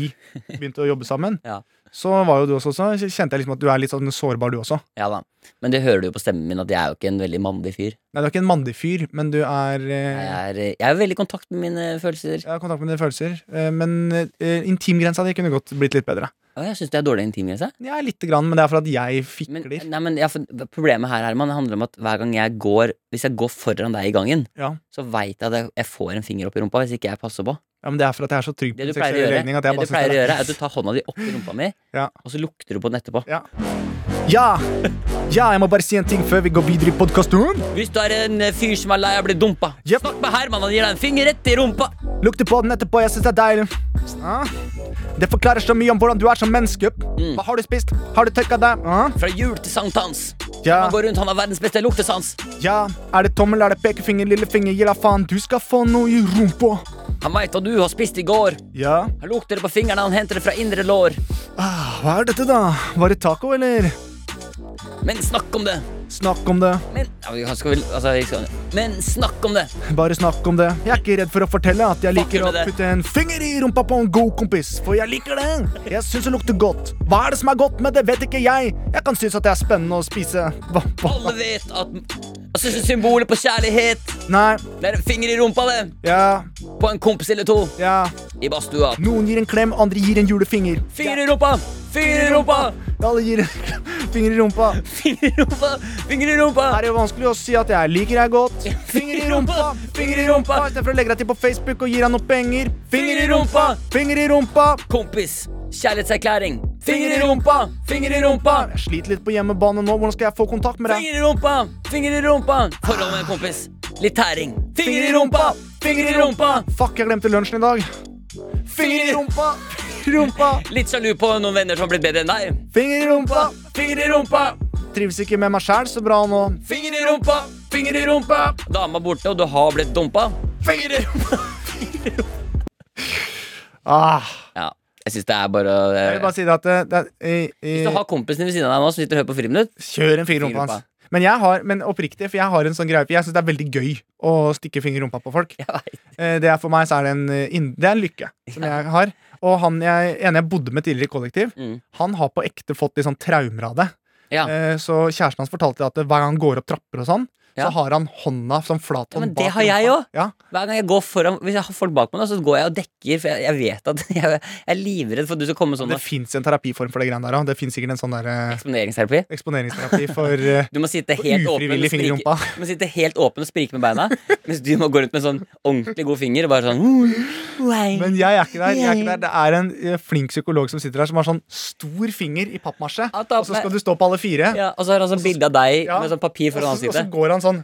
[SPEAKER 3] begynte å jobbe sammen,
[SPEAKER 2] Ja.
[SPEAKER 3] så var jo du også sånn. så Kjente jeg liksom at du er litt sånn sårbar, du også.
[SPEAKER 2] Ja da. Men det hører du jo på stemmen min at jeg er jo ikke en veldig mannlig fyr.
[SPEAKER 3] Nei, du er ikke en mandig fyr, men du er eh,
[SPEAKER 2] Jeg er, eh, jeg er veldig i kontakt med mine følelser.
[SPEAKER 3] Jeg har kontakt med dine følelser, eh, men eh, intimgrensa di kunne godt blitt litt bedre.
[SPEAKER 2] Og jeg syns det er dårlig intimgrense.
[SPEAKER 3] Ja, lite grann, men det er for at jeg
[SPEAKER 2] Men,
[SPEAKER 3] fikler.
[SPEAKER 2] nei, men ja, for problemet her Herman, det handler om at hver gang jeg går hvis jeg går foran deg i gangen,
[SPEAKER 3] Ja.
[SPEAKER 2] så veit jeg at jeg- jeg får en finger opp i rumpa hvis ikke jeg passer på.
[SPEAKER 3] Ja, men det er for at jeg er så trygg på
[SPEAKER 2] Det du
[SPEAKER 3] min
[SPEAKER 2] pleier å
[SPEAKER 3] seksuelle
[SPEAKER 2] gjøre,
[SPEAKER 3] legning at
[SPEAKER 2] det
[SPEAKER 3] jeg
[SPEAKER 2] du
[SPEAKER 3] bare synes
[SPEAKER 2] pleier å
[SPEAKER 3] det er-
[SPEAKER 2] gjøre er at du tar hånda di oppi rumpa mi,
[SPEAKER 3] Ja.
[SPEAKER 2] og så lukter du på den etterpå.
[SPEAKER 3] Ja. Ja. ja, jeg må bare si en ting før vi går videre i podkasten.
[SPEAKER 2] Hvis du er en eh, fyr som er lei av å bli dumpa,
[SPEAKER 3] Jep.
[SPEAKER 2] snakk med Herman. Han gir deg en finger rett i rumpa.
[SPEAKER 3] Lukter på den etterpå, jeg syns det er deilig. Ja. Det forklarer så mye om hvordan du er som menneske.
[SPEAKER 2] Mm.
[SPEAKER 3] Hva har du spist? Har du tørka deg? Ja.
[SPEAKER 2] Fra jul til sankthans.
[SPEAKER 3] Ja.
[SPEAKER 2] Han går rundt, han har verdens beste luktesans.
[SPEAKER 3] ja. Er det tommel, er det pekefinger, lillefinger, gi da faen. Du skal få noe i rumpa.
[SPEAKER 2] Han veit hva du har spist i går.
[SPEAKER 3] Ja.
[SPEAKER 2] Han lukter det på fingrene, han henter det fra indre lår.
[SPEAKER 3] Ah, hva er dette, da? Var det taco, eller?
[SPEAKER 2] Men snakk om det.
[SPEAKER 3] Snakk om det.
[SPEAKER 2] Men ja, vi kan- skal vel, altså, vi skal, Men snakk om det.
[SPEAKER 3] Bare snakk om det. Jeg er ikke redd for å fortelle at jeg liker
[SPEAKER 2] Fucker
[SPEAKER 3] å
[SPEAKER 2] med det.
[SPEAKER 3] putte en finger i rumpa på en god kompis, for jeg liker det. Jeg syns det lukter godt. Hva er det som er godt med det, vet ikke jeg. Jeg kan synes at det er spennende å spise. Hva, hva?
[SPEAKER 2] Alle vet at altså, symbolet på kjærlighet
[SPEAKER 3] Nei,
[SPEAKER 2] Det er en finger i rumpa, det.
[SPEAKER 3] ja,
[SPEAKER 2] På en kompis eller to.
[SPEAKER 3] ja.
[SPEAKER 2] I badstua.
[SPEAKER 3] Noen gir en klem, andre gir en julefinger.
[SPEAKER 2] Finger i rumpa! Finger i rumpa!
[SPEAKER 3] Alle gir en finger i rumpa.
[SPEAKER 2] Finger i rumpa! Finger i rumpa!
[SPEAKER 3] Her er det jo vanskelig å si at jeg liker deg godt. Finger i rumpa, finger i rumpa. Istedenfor å legge deg til på Facebook og gir deg noe penger. Finger i rumpa, finger i rumpa.
[SPEAKER 2] Kompis. Kjærlighetserklæring. Finger i rumpa! Finger i rumpa!
[SPEAKER 3] Jeg sliter litt på hjemmebane nå. Hvordan skal jeg få kontakt med deg?
[SPEAKER 2] Finger i rumpa! Finger i rumpa! Forhold med en kompis. Litt tæring. Finger i rumpa! Finger i rumpa!
[SPEAKER 3] Fuck, jeg glemte lunsjen i dag. Finger i rumpa, finger i rumpa,
[SPEAKER 2] Litt sjalu på noen venner som har blitt bedre enn deg.
[SPEAKER 3] finger i rumpa.
[SPEAKER 2] Finger i rumpa!
[SPEAKER 3] Trives ikke med meg sjæl så bra nå.
[SPEAKER 2] Finger i rumpa! Finger i rumpa! Dama borte, og du har blitt dumpa. Finger i rumpa!
[SPEAKER 3] Ah.
[SPEAKER 2] Ja, jeg syns det er bare å
[SPEAKER 3] Jeg vil bare si det at det, det, er- i,
[SPEAKER 2] Hvis du
[SPEAKER 3] i,
[SPEAKER 2] har kompisen din ved siden av deg nå som sitter og hører på Friminutt
[SPEAKER 3] Kjør en finger i
[SPEAKER 2] Finger i
[SPEAKER 3] rumpa
[SPEAKER 2] rumpa.
[SPEAKER 3] hans. Men jeg har, men oppriktig, for jeg har en sånn greie For jeg syns det er veldig gøy å stikke finger i rumpa på folk.
[SPEAKER 2] Jeg vet.
[SPEAKER 3] Eh, Det er For meg så er det en, eh, inn- det er en lykke som jeg har. Og han jeg, en jeg bodde med tidligere i kollektiv,
[SPEAKER 2] Mm.
[SPEAKER 3] han har på ekte fått litt sånn traumer av det.
[SPEAKER 2] Ja.
[SPEAKER 3] Eh, Så kjæresten hans fortalte at hver gang han går opp trapper og sånn,
[SPEAKER 2] Ja.
[SPEAKER 3] så har han hånda sånn flat
[SPEAKER 2] Ja,
[SPEAKER 3] hånd
[SPEAKER 2] men det
[SPEAKER 3] bak
[SPEAKER 2] har jeg
[SPEAKER 3] rumpa.
[SPEAKER 2] også.
[SPEAKER 3] Ja.
[SPEAKER 2] Hver gang jeg går foran Hvis jeg har folk bak meg, nå, så går jeg og dekker, for jeg, jeg vet at jeg, jeg er livredd for at du skal komme med sånn
[SPEAKER 3] Det fins en terapiform for det greiene der òg. Det fins sikkert en sånn der eh,
[SPEAKER 2] eksponeringsterapi.
[SPEAKER 3] eksponeringsterapi for eh,
[SPEAKER 2] Du må sitte
[SPEAKER 3] For
[SPEAKER 2] helt åpen
[SPEAKER 3] ufrivillig
[SPEAKER 2] og
[SPEAKER 3] finger i
[SPEAKER 2] sprike,
[SPEAKER 3] rumpa.
[SPEAKER 2] du må sitte helt åpen og sprike med beina, mens du må gå rundt med en sånn ordentlig god finger og bare sånn
[SPEAKER 3] Men jeg er ikke der. Jeg er ikke der. Det er en eh, flink psykolog som sitter her, som har sånn stor finger i pappmasje,
[SPEAKER 2] Ja, ta
[SPEAKER 3] og så
[SPEAKER 2] med-
[SPEAKER 3] skal du stå på alle fire.
[SPEAKER 2] ja, Og så har han sånn bilde av deg
[SPEAKER 3] Ja.
[SPEAKER 2] med sånn papir
[SPEAKER 3] Og
[SPEAKER 2] foran
[SPEAKER 3] så, og så
[SPEAKER 2] ansiktet.
[SPEAKER 3] går han sånn Og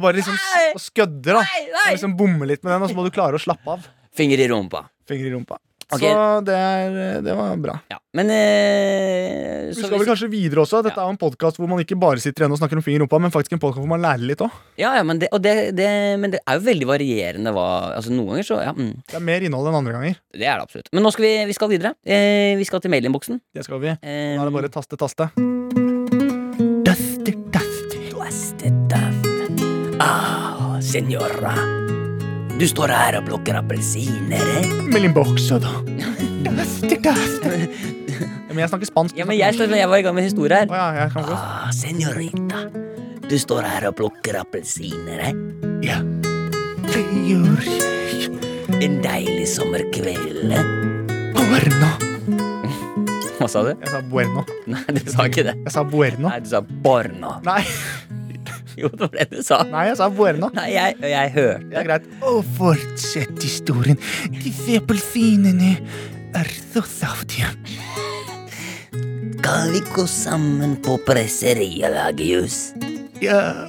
[SPEAKER 3] bare liksom s- og skødder, da. Og liksom bommer litt med den, og så må du klare å slappe av.
[SPEAKER 2] Finger i rumpa.
[SPEAKER 3] Finger i rumpa.
[SPEAKER 2] Ok.
[SPEAKER 3] Så det, er, eh, det var bra.
[SPEAKER 2] Ja. Men eh,
[SPEAKER 3] Vi
[SPEAKER 2] så
[SPEAKER 3] skal vel
[SPEAKER 2] hvis-
[SPEAKER 3] kanskje videre også. Dette er jo en podkast hvor man ikke bare sitter igjen og snakker om finger i rumpa, men faktisk en podkast hvor man lærer litt òg.
[SPEAKER 2] ja, ja, men, det, og det, det, men det er jo veldig varierende hva Altså Noen ganger så ja, mm,
[SPEAKER 3] Det er mer innhold enn andre ganger.
[SPEAKER 2] Det er det absolutt. Men nå skal vi, vi skal videre. Eh, vi skal til mailinnboksen.
[SPEAKER 3] Det skal vi.
[SPEAKER 2] Eh,
[SPEAKER 3] Nå er det bare taste, taste. Duster, duster.
[SPEAKER 2] Ah, senora. Du står her og plukker appelsiner, eh?
[SPEAKER 3] Mellom boksa, da. Duster, duster. Ja, Men jeg snakker spansk.
[SPEAKER 2] Ja, men jeg, står- jeg var i gang med en historie
[SPEAKER 3] Å
[SPEAKER 2] her.
[SPEAKER 3] ja, jeg kan godt.
[SPEAKER 2] Ah, senorita. Du står her og plukker appelsiner, eh?
[SPEAKER 3] Ja. Figur
[SPEAKER 2] En deilig sommerkveld. eh?
[SPEAKER 3] Buerno.
[SPEAKER 2] Hva sa du?
[SPEAKER 3] Jeg sa bueno.
[SPEAKER 2] Nei, du sa ikke det.
[SPEAKER 3] Jeg sa bueno.
[SPEAKER 2] Nei, du sa porno.
[SPEAKER 3] Nei,
[SPEAKER 2] Jo, det var det du sa.
[SPEAKER 3] Nei jeg sa bueno.
[SPEAKER 2] Nei, jeg, jeg hørte.
[SPEAKER 3] Det er greit. Og fortsett historien. Disse appelsinene er så saftige.
[SPEAKER 2] Skal vi gå sammen på presseriet og lage jus?
[SPEAKER 3] Ja.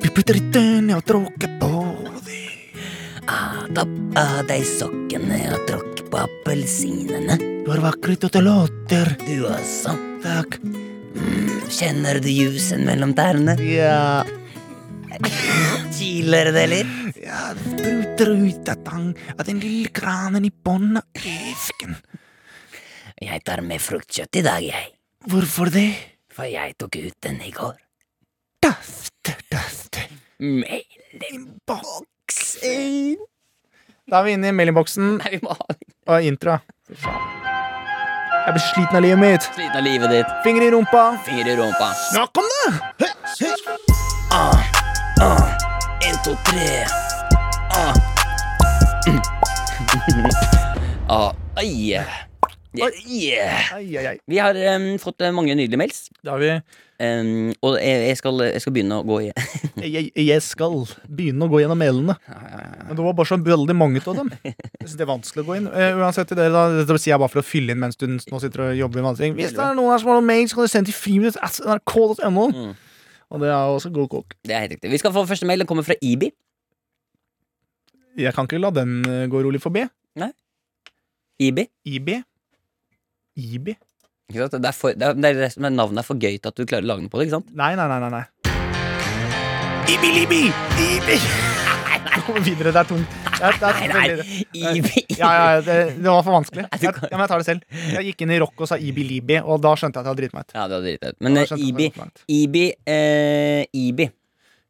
[SPEAKER 3] Vi putter litt dønn i og tråkker på det.
[SPEAKER 2] Ah, ta av deg sokkene og tråkk på appelsinene.
[SPEAKER 3] Du er vakker ut og det låter.
[SPEAKER 2] Du også. Mm,
[SPEAKER 3] Takk.
[SPEAKER 2] Kjenner du jusen mellom tærne?
[SPEAKER 3] Ja.
[SPEAKER 2] Kiler det litt?
[SPEAKER 3] Ja, det spruter ut av tang av den lille kranen i bånn av esken.
[SPEAKER 2] Jeg tar med fruktkjøtt i dag, jeg.
[SPEAKER 3] Hvorfor det?
[SPEAKER 2] For jeg tok ut den i går.
[SPEAKER 3] Dafte, dafte.
[SPEAKER 2] Mailinnboksen
[SPEAKER 3] Da er vi inne i mailingboksen
[SPEAKER 2] Nei, vi må ha den.
[SPEAKER 3] og introa.
[SPEAKER 2] Fy faen.
[SPEAKER 3] Jeg blir sliten av livet mitt.
[SPEAKER 2] Sliten av livet ditt.
[SPEAKER 3] Finger i rumpa.
[SPEAKER 2] Finger i rumpa.
[SPEAKER 3] Snakk om det!
[SPEAKER 2] En, to, tre. Ah. ah. Ai. Yeah.
[SPEAKER 3] Ai, ai, ai.
[SPEAKER 2] Vi har em, fått eh, mange nydelige mails.
[SPEAKER 3] Da har vi
[SPEAKER 2] Em, og jeg, jeg, skal, jeg skal begynne å gå i
[SPEAKER 3] jeg, jeg skal begynne å gå gjennom mailene. Men det var bare så veldig mange av dem. Jeg synes det er vanskelig å gå inn. Eh, uansett til dere da, Dette sier jeg bare for å fylle inn mens du nå sitter og jobber med andre ting. Hvis det er noen her som har noen mail, så kan du sende til friminutt.nrk.no.
[SPEAKER 2] Mm.
[SPEAKER 3] Og det er også god kokk.
[SPEAKER 2] Det er helt riktig. Vi skal få første mail. Den kommer fra Ibi.
[SPEAKER 3] Jeg kan ikke la den eh, gå rolig forbi.
[SPEAKER 2] Ibi.
[SPEAKER 3] IB. IB?
[SPEAKER 2] Ikke sant? Det er for, det er, det er resten, men navnet er for gøy til at du klarer å lage noe på det. ikke sant?
[SPEAKER 3] Nei, nei, nei, nei. nei. IBI, IBI, IBI. Kom videre, det er tungt. Det er, det er
[SPEAKER 2] Nei, nei.
[SPEAKER 3] veldig-
[SPEAKER 2] Ibi.
[SPEAKER 3] Ja, ja, det, det var for vanskelig.
[SPEAKER 2] Nei,
[SPEAKER 3] Jeg,
[SPEAKER 2] du
[SPEAKER 3] ja,
[SPEAKER 2] kan-
[SPEAKER 3] men jeg tar det selv. Jeg gikk inn i rock og sa Ibi Libi, og da skjønte jeg at jeg hadde driti meg ut.
[SPEAKER 2] Ja, det hadde dritt ut. Men
[SPEAKER 3] Da
[SPEAKER 2] eh,
[SPEAKER 3] skjønte jeg at
[SPEAKER 2] Ibi
[SPEAKER 3] jeg hadde gått langt.
[SPEAKER 2] Ibi, eh, Ibi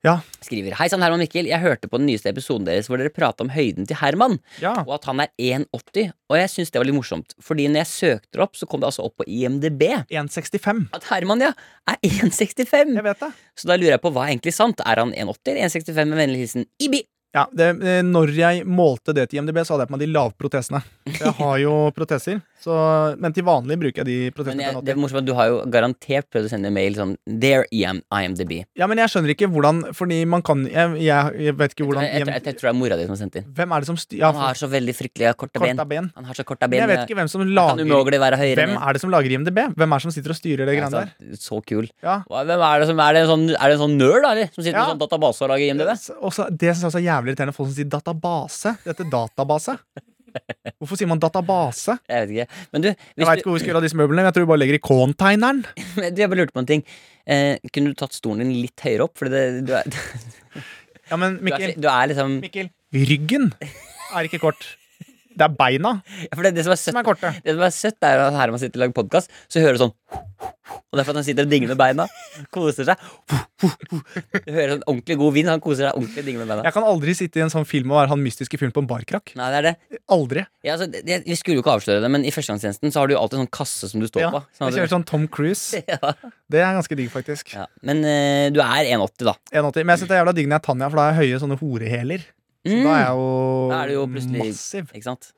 [SPEAKER 3] Ja.
[SPEAKER 2] skriver Hei sann, Herman Mikkel. Jeg hørte på den nyeste episoden deres hvor dere prata om høyden til Herman,
[SPEAKER 3] Ja.
[SPEAKER 2] og at han er 1,80. Og jeg syns det var litt morsomt, Fordi når jeg søkte det opp, så kom det altså opp på IMDb
[SPEAKER 3] 1,65.
[SPEAKER 2] at Herman, ja, er 1,65.
[SPEAKER 3] Jeg vet det.
[SPEAKER 2] Så da lurer jeg på hva er egentlig sant. Er han 1,80 eller 1,65? Med vennlig hilsen Ibi.
[SPEAKER 3] Ja, det, eh, når jeg målte det til IMDb, så hadde jeg på meg de lavprotesene. For Jeg har jo proteser, så, men til vanlig bruker jeg de
[SPEAKER 2] Men
[SPEAKER 3] protesene.
[SPEAKER 2] jeg,
[SPEAKER 3] på
[SPEAKER 2] det
[SPEAKER 3] en
[SPEAKER 2] er
[SPEAKER 3] måte.
[SPEAKER 2] morsomt at du har jo garantert prøvd å sende en mail sånn There IM, IMDb.
[SPEAKER 3] Ja, men jeg skjønner ikke hvordan Fordi man kan Jeg, jeg, jeg vet ikke hvordan
[SPEAKER 2] Jeg, jeg, jeg, jeg tror det er mora di som har sendt inn.
[SPEAKER 3] Hvem er det som styrer
[SPEAKER 2] Han har så veldig fryktelig korte ben.
[SPEAKER 3] korta ben?
[SPEAKER 2] Han har så korte
[SPEAKER 3] Men
[SPEAKER 2] ben.
[SPEAKER 3] jeg vet ikke hvem som
[SPEAKER 2] Kan
[SPEAKER 3] lager
[SPEAKER 2] umulig være høyere
[SPEAKER 3] Hvem er det som lager IMDb? Hvem er det som sitter og styrer det
[SPEAKER 2] Ja,
[SPEAKER 3] greiene der?
[SPEAKER 2] sant. Så kul.
[SPEAKER 3] Ja.
[SPEAKER 2] Hva- Hvem er det som Er det en sånn, er det en sånn nerd, da? Eller? Som sitter
[SPEAKER 3] Ja.
[SPEAKER 2] med sånn database og lager IMDb?
[SPEAKER 3] S- Også, det synes jeg også er jævlig irriterende folk som sier database. Dette er database. Hvorfor sier man database?
[SPEAKER 2] Jeg vet ikke. Men du,
[SPEAKER 3] Jeg
[SPEAKER 2] hvis
[SPEAKER 3] veit ikke hvor vi skal gjøre av disse møblene. men Jeg tror vi bare legger ikontegneren.
[SPEAKER 2] du, du, jeg bare lurte på en ting. Eh, kunne du tatt stolen din litt høyere opp? Fordi det, du, er, du,
[SPEAKER 3] Ja, men
[SPEAKER 2] er,
[SPEAKER 3] Mikkel,
[SPEAKER 2] du er liksom
[SPEAKER 3] Mikkel. Ryggen er ikke kort. Det er beina
[SPEAKER 2] For det, det som er søtt,
[SPEAKER 3] som er korte.
[SPEAKER 2] det som er søtt er at Herman sitter og lager podkast, så hører du sånn Og det er for at han sitter og dingler med beina. Koser seg. Du hører sånn ordentlig god vind. Han koser seg ordentlig og dingler med beina.
[SPEAKER 3] Jeg kan aldri sitte i en sånn film og være han mystiske fyren på en barkrakk.
[SPEAKER 2] Nei, det er det.
[SPEAKER 3] Aldri.
[SPEAKER 2] Ja, altså, det, det- vi skulle jo ikke avsløre det, men i førstegangstjenesten så har du jo alltid en sånn kasse som du står
[SPEAKER 3] Ja.
[SPEAKER 2] på. Sånn
[SPEAKER 3] Jeg
[SPEAKER 2] at du-
[SPEAKER 3] kjører sånn Tom Cruise.
[SPEAKER 2] Ja.
[SPEAKER 3] Det er ganske digg, faktisk.
[SPEAKER 2] Ja, men eh, du er 1,80 da
[SPEAKER 3] 1,80. Men jeg synes det er jævla digg når jeg er Tanja, for da har jeg høye sånne horehæler. Så da er jeg jo,
[SPEAKER 2] Mm. Da er du jo plutselig-
[SPEAKER 3] massiv.
[SPEAKER 2] Mm, Ikke sant?